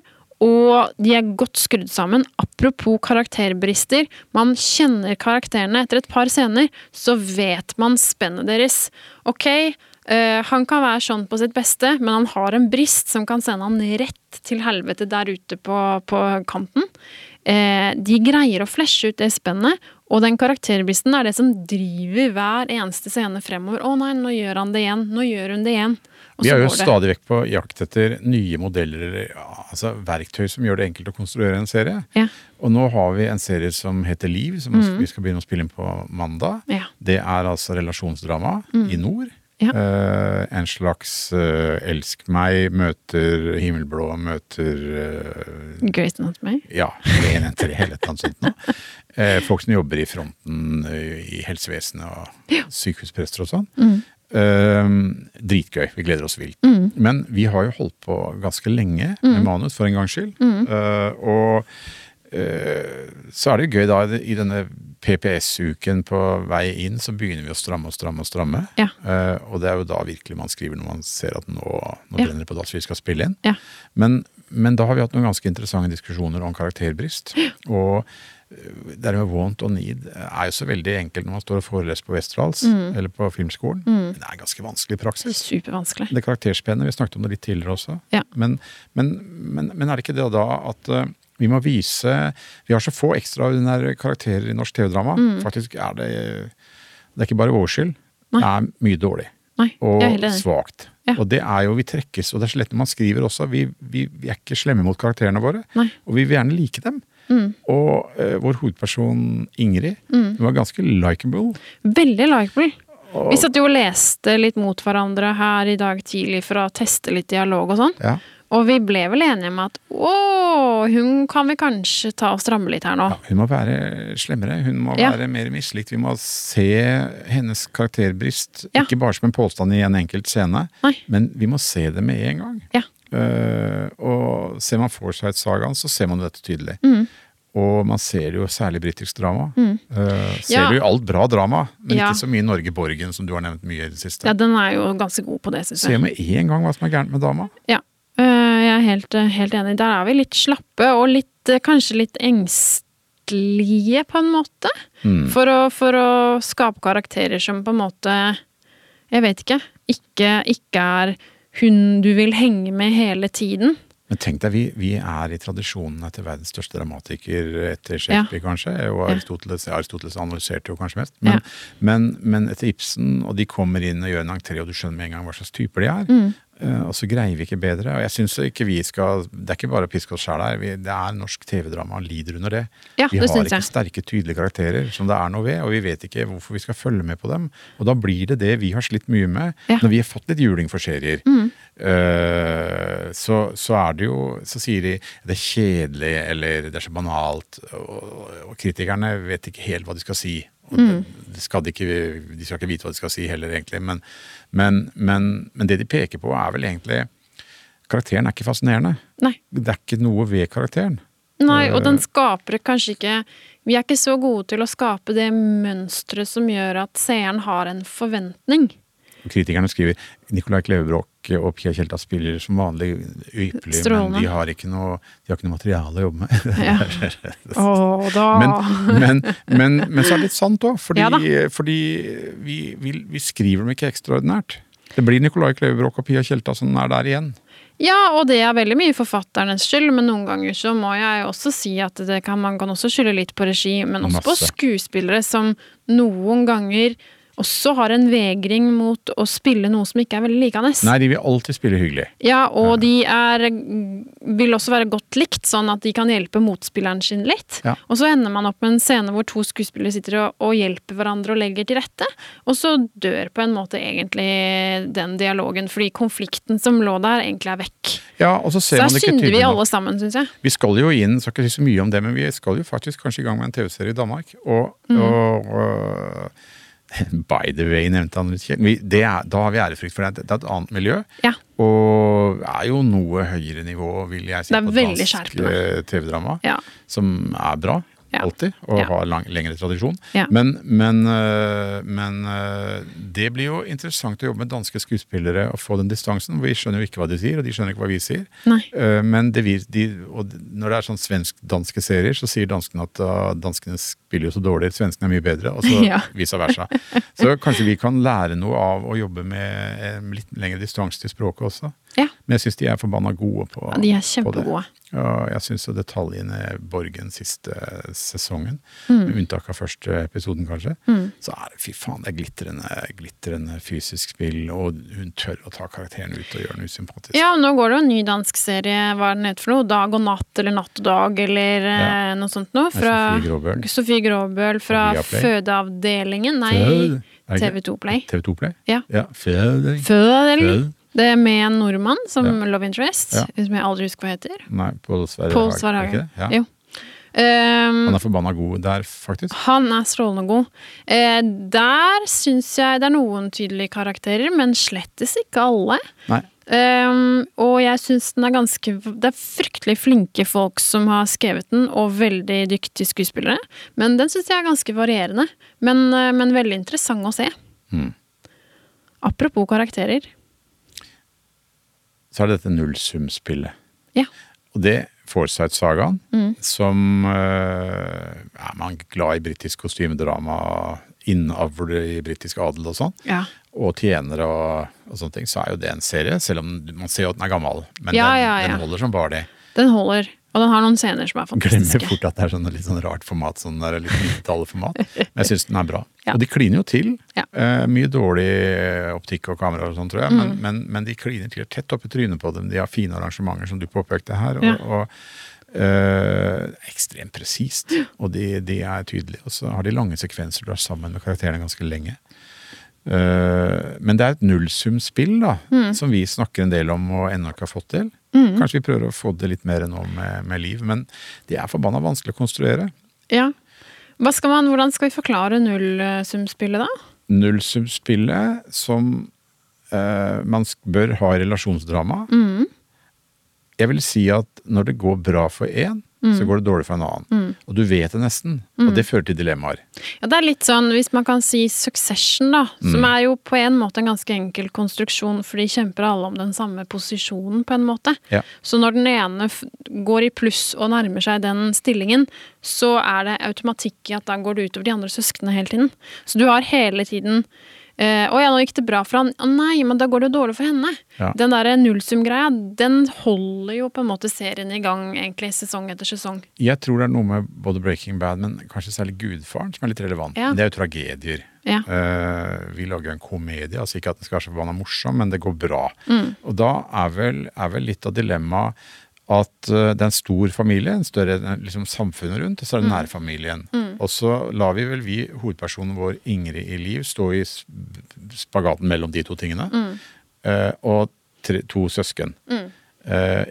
og de er godt skrudd sammen. Apropos karakterbrister, man kjenner karakterene etter et par scener, så vet man spennet deres. Ok, eh, han kan være sånn på sitt beste, men han har en brist som kan sende han rett til helvete der ute på, på kanten. Eh, de greier å flashe ut det spennet, og den karakterbristen er det som driver hver eneste scene fremover. Å nei, nå gjør han det igjen. Nå gjør hun det igjen. Og
Vi
så
er jo
går det.
stadig vekk på jakt etter nye modeller, eller, ja, altså verktøy som gjør det enkelt å konstruere en serie.
Ja.
Og nå har vi en serie som heter Liv, som vi skal begynne å spille inn på mandag.
Mm. Ja. Mm.
Det er altså relasjonsdrama i nord.
Ja.
Eh, en slags eh, elsk meg møter himmelblå møter eh,
Grey's Anatomy.
ja, mer enn tre eller et eller annet sånt nå. Eh, folk som jobber i fronten eh, i helsevesenet og sykehusprester og sånn.
Mm.
Eh, dritgøy. Vi gleder oss vilt. Men vi har jo holdt på ganske lenge
Mm.
med manus, for en gangs skyld. Eh, og eh, så er det jo gøy da i denne PPS-uken på vei inn, så begynner vi å stramme og stramme og stramme.
Ja.
Eh, og det er jo da virkelig man skriver når man ser at nå, nå
Ja.
brenner det på dass, vi skal spille inn.
Ja.
Men, men da har vi hatt noen ganske interessante diskusjoner om karakterbrist. Og øh, det der med want og need er jo så veldig enkelt når man står og foreleser på Westerdals eller på filmskolen. Men det er ganske vanskelig i praksis.
Supervanskelig.
Det karakterspennet, vi snakket om det litt tidligere også.
Ja.
Men, men, men, men er det ikke det da at øh, vi må vise Vi har så få ekstraordinære karakterer i norsk TV-drama. Faktisk er det Det er ikke bare vår skyld.
Nei.
Det er mye dårlig
Nei, jeg er
og
helt enig.
svakt.
Ja.
Og det er jo vi trekkes, og det er så lett når man skriver også. Vi, vi, vi er ikke slemme mot karakterene våre,
Nei. Mm.
og vi vil gjerne like dem. Og eh, vår hovedperson Ingrid hun var ganske likeable.
Veldig likeable. Vi satt jo og leste litt mot hverandre her i dag tidlig for å teste litt dialog og sånn.
Ja.
Og vi ble vel enige om at å, hun kan vi kanskje ta og stramme litt her nå.
Ja, hun må være slemmere, hun må
Ja.
være mer mislikt. Vi må se hennes karakterbrist,
Ja.
ikke bare som en påstand i en enkelt scene,
Nei.
men vi må se det med en gang.
Ja.
Eh, og ser man Foresight-sagaen, så ser man dette tydelig.
Mm.
Og man ser det jo særlig i britisk drama. Eh, ser
Ja.
du jo alt bra drama, men
Ja.
ikke så mye Norge Borgen, som du har nevnt mye i det siste.
Ja, den er jo ganske god på det, syns
Ser
jeg.
med en gang hva som er gærent med dama.
Ja. Øh, Jeg er helt, øh, helt enig. Der er vi litt slappe og litt, øh, kanskje litt engstelige, på en måte. For, å, for å skape karakterer som på en måte Jeg vet ikke. Ikke, ikke er hun du vil henge med hele tiden.
Men tenk deg, vi, vi er i tradisjonen etter verdens største dramatiker etter Shakespeare, kanskje, og Aristoteles, Aristoteles analyserte jo kanskje mest,
Mm.
men, men, men etter Ibsen, og de kommer inn og gjør en entré, og du skjønner med en gang hva slags typer de er, Eh, Og så greier vi ikke bedre. Og jeg synes ikke vi skal Det er ikke bare å piske oss sjæl her. Vi, det er norsk TV-drama lider under det.
Ja,
vi
det
har
synes
ikke
jeg.
sterke, tydelige karakterer som det er noe ved, og vi vet ikke hvorfor vi skal følge med på dem. Og da blir det det vi har slitt mye med.
Ja.
Når vi har fått litt juling for serier, eh, så, så er det jo Så sier de det er kjedelig, eller det er så banalt, og, og kritikerne vet ikke helt hva de skal si. Og det skal de, ikke, de skal ikke vite hva de skal si heller, egentlig. Men, men, men, men det de peker på, er vel egentlig Karakteren er ikke fascinerende.
Nei.
Det er ikke noe ved karakteren.
Nei, og den skaper kanskje ikke Vi er ikke så gode til å skape det mønsteret som gjør at seeren har en forventning.
Og Kritikerne skriver Nicolai Klevebrok og Pia Tjelta spiller som vanlig ypperlig, men
Strålende.
de har ikke noe, de har ikke noe materiale å jobbe med.
Ja. Å, da
Men, men, men, men så er det litt sant òg, fordi,
Ja da.
fordi vi, vi, vi skriver dem ikke ekstraordinært. Det blir Nicolai Klevebrok og Pia Tjelta som er der igjen.
Ja, og det er veldig mye forfatternes skyld, men noen ganger så må jeg også si at det kan, man kan også skylde litt på regi, men også på
Masse.
skuespillere som noen ganger også har en vegring mot å spille noe som ikke er veldig likandes.
Nei, de vil alltid spille hyggelig.
Ja, og de er, vil også være godt likt, sånn at de kan hjelpe motspilleren sin litt.
Ja.
Og så ender man opp med en scene hvor to skuespillere sitter og, og hjelper hverandre og legger til rette, og så dør på en måte egentlig den dialogen, fordi konflikten som lå der, egentlig er vekk.
Ja, og så
Så
ser
der
man det ikke
synder vi
tydelig nok.
alle sammen, syns jeg.
Vi skal jo inn, skal ikke si så mye om det, men vi skal jo faktisk kanskje i gang med en TV-serie i Danmark. Og,
Mm.
og, og By the way, nevnte han litt kjent. Vi- det er- Da har vi ærefrykt, for det er, det er et annet miljø.
Ja.
Og er jo noe høyere nivå, vil jeg si,
Det er
på
veldig
dansk
skjerpende.
eh, TV-drama.
Ja.
Som er bra,
Ja.
alltid, og
Ja.
har lang, lengre tradisjon.
Ja.
Men, men, eh, men eh, det blir jo interessant å jobbe med danske skuespillere og få den distansen. Vi skjønner jo ikke hva de sier, og de skjønner ikke hva vi sier.
Nei.
Eh, Men det vir, de, og d- når det er sånn svensk-danske serier, så sier danskene at ah, danskene spiller jo så dårlig, svenskene er mye bedre, og så
Ja.
vice versa. Så kanskje vi kan lære noe av å jobbe med eh, litt lengre distanse til språket også.
Ja.
Men jeg syns de er forbanna gode på,
Ja, de er
på det.
kjempegode.
Ja, jeg syns detaljene i Borgen siste eh, sesongen,
Mm.
med unntak av første episoden kanskje, så er det fy faen, det er glitrende, glitrende fysisk spill, og hun tør å ta karakteren ut og gjøre den usympatisk.
Ja, og nå går det jo en ny dansk serie, hva er den heter for noe? Dag og natt, eller Natt og dag, eller eh, noe sånt noe.
Det er
Fra
Sofie Gråbøl.
Sofie Gråbøl fra
Via Play. Fød-
Fødeavdelingen, nei,
Er det ikke-
TV2 Play.
TV2 Play?
Ja.
Føding.
Fødeavdelingen.
Fød.
Det er med en nordmann som
Ja.
Love Interest,
Ja.
som jeg aldri husker hva heter.
Nei, Pål Sverre
Pål
Hagen,
Sverre
er det ikke
Hagen.
det? Ja.
Jo. Ehm,
Han er forbanna god der, faktisk.
han er strålende god. Eh, der syns jeg det er noen tydelige karakterer, men slettes ikke alle.
Nei.
Ehm, og jeg syns den er ganske Det er fryktelig flinke folk som har skrevet den, og veldig dyktige skuespillere. Men den syns jeg er ganske varierende. Men, eh, men veldig interessant å se.
Mm.
Apropos karakterer.
Så er det dette nullsumspillet.
Ja.
Og det Forsight-sagaen,
Mm.
som øh, er man glad i britisk kostymedrama, innavle i britisk adel og sånn,
Ja.
og tjenere og, og sånne ting, så er jo det en serie, selv om man ser jo at den er gammel. Men
Ja,
den,
ja, ja.
den holder som bare det.
Den holder. Og den har noen scener som er
Glemmer
fantastiske.
fort at det er sånn litt sånn rart format, sånn der litt 90-tallet-format. Men jeg syns den er bra.
Ja.
Og de kliner jo til.
Ja.
Eh, mye dårlig eh, optikk og kamera og sånn, tror jeg, men,
Mm.
men, men de kliner til tett opp i trynet på dem. De har fine arrangementer, som du påpekte her. Og,
Ja.
og eh, ekstremt presist. Og de, de er tydelige. Og så har de lange sekvenser du er sammen med karakterene ganske lenge. Eh, men det er et nullsumspill, da, som vi snakker en del om og ennå ikke har fått til. Kanskje vi prøver å få det litt mer nå med, med liv, men det er forbanna vanskelig å konstruere.
Ja. Hva skal man, hvordan skal vi forklare nullsumspillet, da?
Nullsumspillet som eh, man sk- bør ha i relasjonsdrama Jeg vil si at når det går bra for én, så går det dårlig for en annen. Og du vet det nesten, og det fører til dilemmaer.
Ja, det er litt sånn, hvis man kan si succession, da, som
Mm.
er jo på en måte en ganske enkel konstruksjon, for de kjemper alle om den samme posisjonen, på en måte.
Ja.
Så når den ene f går i pluss og nærmer seg den stillingen, så er det automatikk i at da går det utover de andre søsknene hele tiden. Så du har hele tiden eh, 'Å ja, nå gikk det bra for han.' 'Å nei, men da går det jo dårlig for henne.'
Ja.
Den derre nullsum-greia, den holder jo på en måte serien i gang, egentlig, sesong etter sesong.
Jeg tror det er noe med både Breaking Bad, men kanskje særlig Gudfaren, som er litt relevant.
Ja.
Det er jo tragedier.
Ja.
Eh, vi lager en komedie, altså ikke at den skal være så forbanna morsom, men det går bra. Og da er vel, er vel litt av dilemmaet at eh, det er en stor familie, en større eh, liksom, samfunnet rundt, og så er det nærfamilien. Og så lar vi vel vi, hovedpersonen vår Ingrid i Liv, stå i s- spagaten mellom de to tingene. Eh, og tre, to søsken. Eh,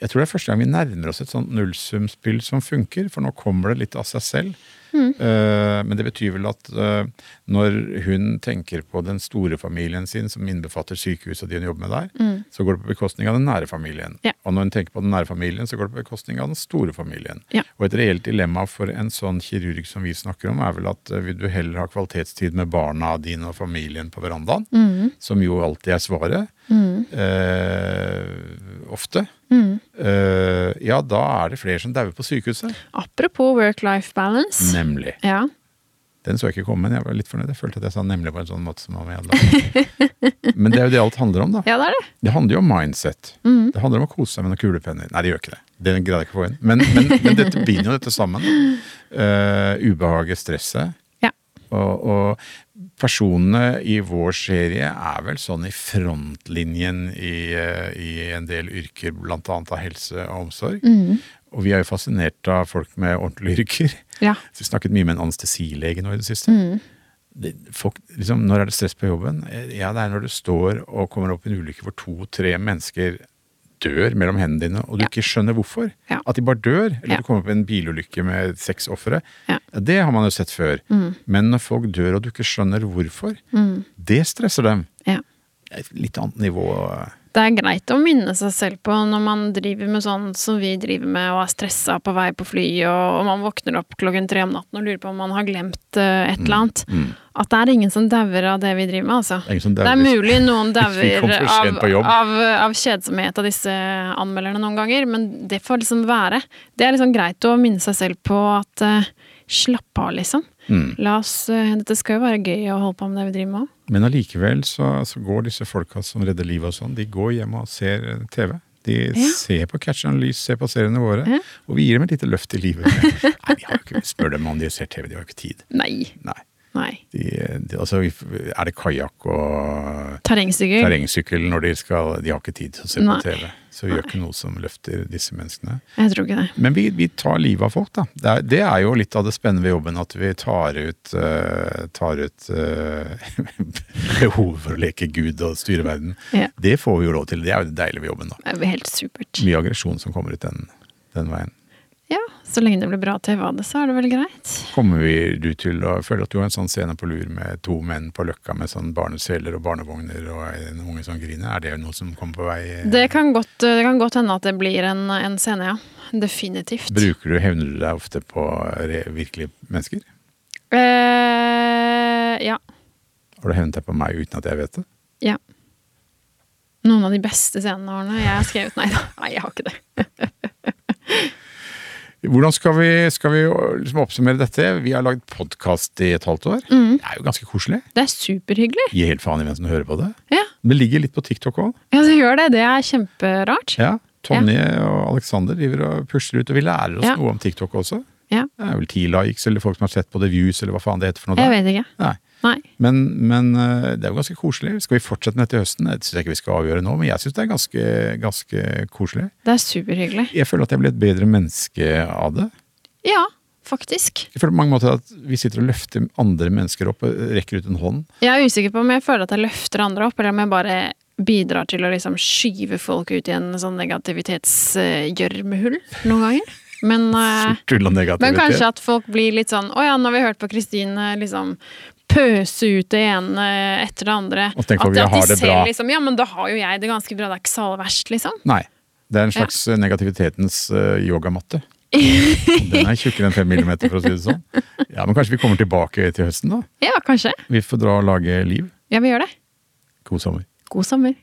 jeg tror det er første gang vi nærmer oss et sånt nullsumspill som funker, for nå kommer det litt av seg selv. Eh, men det betyr vel at eh, når hun tenker på den store familien sin, som innbefatter sykehuset og de hun jobber med der, så går det på bekostning av den nære familien.
Ja.
Og når hun tenker på den nære familien, så går det på bekostning av den store familien.
Ja.
Og et reelt dilemma for en sånn kirurg som vi snakker om, er vel at eh, vil du heller ha kvalitetstid med barna dine og familien på verandaen, som jo alltid er svaret, eh, ofte, eh, ja, da er det flere som dauer på sykehuset.
Apropos work-life balance.
Nemlig.
Ja.
Den så jeg ikke komme, men jeg var litt fornøyd. Jeg følte at jeg sa nemlig på en sånn måte som om jeg hadde lagt meg. Men det er jo det alt handler om, da.
ja, det er det.
Det handler jo om mindset. Det handler om å kose seg med noen kulepenner. Nei, det gjør ikke det. Det greide jeg ikke å få inn. Men, men, men dette binder jo dette sammen. Eh, ubehaget, stresset.
Ja.
Og, og personene i vår serie er vel sånn i frontlinjen i, eh, i en del yrker, bl.a. av helse og omsorg. Og vi er jo fascinert av folk med ordentlige yrker.
Ja.
Vi snakket mye med en anestesilege nå i det siste.
Mm.
Det, folk, liksom, når er det stress på jobben? Eh, Ja, det er når du står og kommer opp i en ulykke hvor to-tre mennesker dør mellom hendene dine, og du
Ja.
ikke skjønner hvorfor.
Ja.
At de bare dør. Eller
Ja.
du kommer opp i en bilulykke med seks ofre.
Ja. Mm.
Det har man jo sett før. Men når folk dør og du ikke skjønner hvorfor, det stresser dem.
ja.
Et litt annet nivå. eh,
Det er greit å minne seg selv på når man driver med sånn som vi driver med, og er stressa på vei på fly, og, og man våkner opp klokken tre om natten og lurer på om man har glemt eh, et
Mm,
eller annet. At det er ingen som dauer av det vi driver med, altså.
er ingen som dauer.
det er mulig noen
Vi
dauer
kom for sent
av,
på jobb.
av, av kjedsomhet av disse anmelderne noen ganger, men det får liksom være. Det er liksom greit å minne seg selv på at eh, slapp av, liksom.
Mm.
La oss, eh, dette skal jo være gøy å holde på med det vi driver med òg.
Men allikevel så, så går disse folka som redder livet og sånn, de går hjem og ser eh, TV. De
Ja.
ser på Catch and Lys, ser på seriene våre,
Ja.
og vi gir dem et lite løft i livet. Nei, vi har jo ikke, spør dem om de ser TV, de har jo ikke tid.
Nei.
Nei.
Nei.
De, de, altså, vi f- er det kajakk og
Terrengsykkel.
terrengsykkel når de skal De har ikke tid til å se
Nei.
på TV. Så vi gjør ikke noe som løfter disse menneskene.
Jeg tror ikke det.
Men vi, vi tar livet av folk, da. Det er, det er jo litt av det spennende ved jobben, at vi tar ut, eh, tar ut eh, behovet for å leke Gud og styre verden.
Ja.
Det får vi jo råd til. Det er jo det deilige ved jobben, da.
Det er jo helt supert.
Mye aggresjon som kommer ut den, den veien.
Ja, så lenge det blir bra TV av det, så er det vel greit.
Kommer vi du til å føle at du har en sånn scene på lur med to menn på Løkka med sånn barneseler og barnevogner og en unge som griner? Er det noe som kommer på vei? eh?
Det kan godt, det kan godt hende at det blir en, en scene, ja. Definitivt.
Bruker du, Hevner du deg ofte på eh, re virkelige mennesker?
Eh, ja.
Har du hevnet deg på meg uten at jeg vet det?
ja. Noen av de beste scenene Arne, jeg har skrevet. Nei da, nei, jeg har ikke det.
Hvordan skal vi, skal vi liksom oppsummere dette? Vi har lagd podkast i et halvt år.
Mm.
Det er jo ganske koselig.
Det er superhyggelig.
Gi helt faen i hvem som hører på det.
Ja,
Det ligger litt på TikTok òg.
ja det gjør det. Det er kjemperart.
Ja. Tonje og Aleksander driver og pusler ut, og vi lærer oss
Ja.
noe om TikTok også.
Ja.
Det er vel ti likes, eller folk som har sett på det views, eller hva faen det heter for noe
Jeg
der.
vet ikke.
Nei.
Nei.
Men, men eh, det er jo ganske koselig. Skal vi fortsette med dette i høsten? Det syns jeg ikke vi skal avgjøre nå, men jeg syns det er ganske, ganske koselig.
Det er superhyggelig.
Jeg føler at jeg blir et bedre menneske av det.
Ja, faktisk.
Jeg føler på mange måter at vi sitter og løfter andre mennesker opp og rekker ut en hånd.
Jeg er usikker på om jeg føler at jeg løfter andre opp, eller om jeg bare bidrar til å liksom skyve folk ut i en sånn negativitetsgjørmehull noen ganger. Men, eh,
Sort tull og negativitet.
men kanskje at folk blir litt sånn Å ja, nå har vi hørt på Kristine liksom pøse ut det ene etter det andre.
Og tenk
at,
hvor vi
at de
har det
ser
bra.
liksom Ja, men da har jo jeg det ganske bra, det er ikke så aller verst, liksom.
Nei. Det er en slags eh, negativitetens eh, yogamatte. Den er tjukkere enn fem millimeter, for å si det sånn. Ja, Men kanskje vi kommer tilbake til høsten, da.
Ja, kanskje.
Vi får dra og lage liv.
Ja, vi gjør det.
God sommer.
God sommer.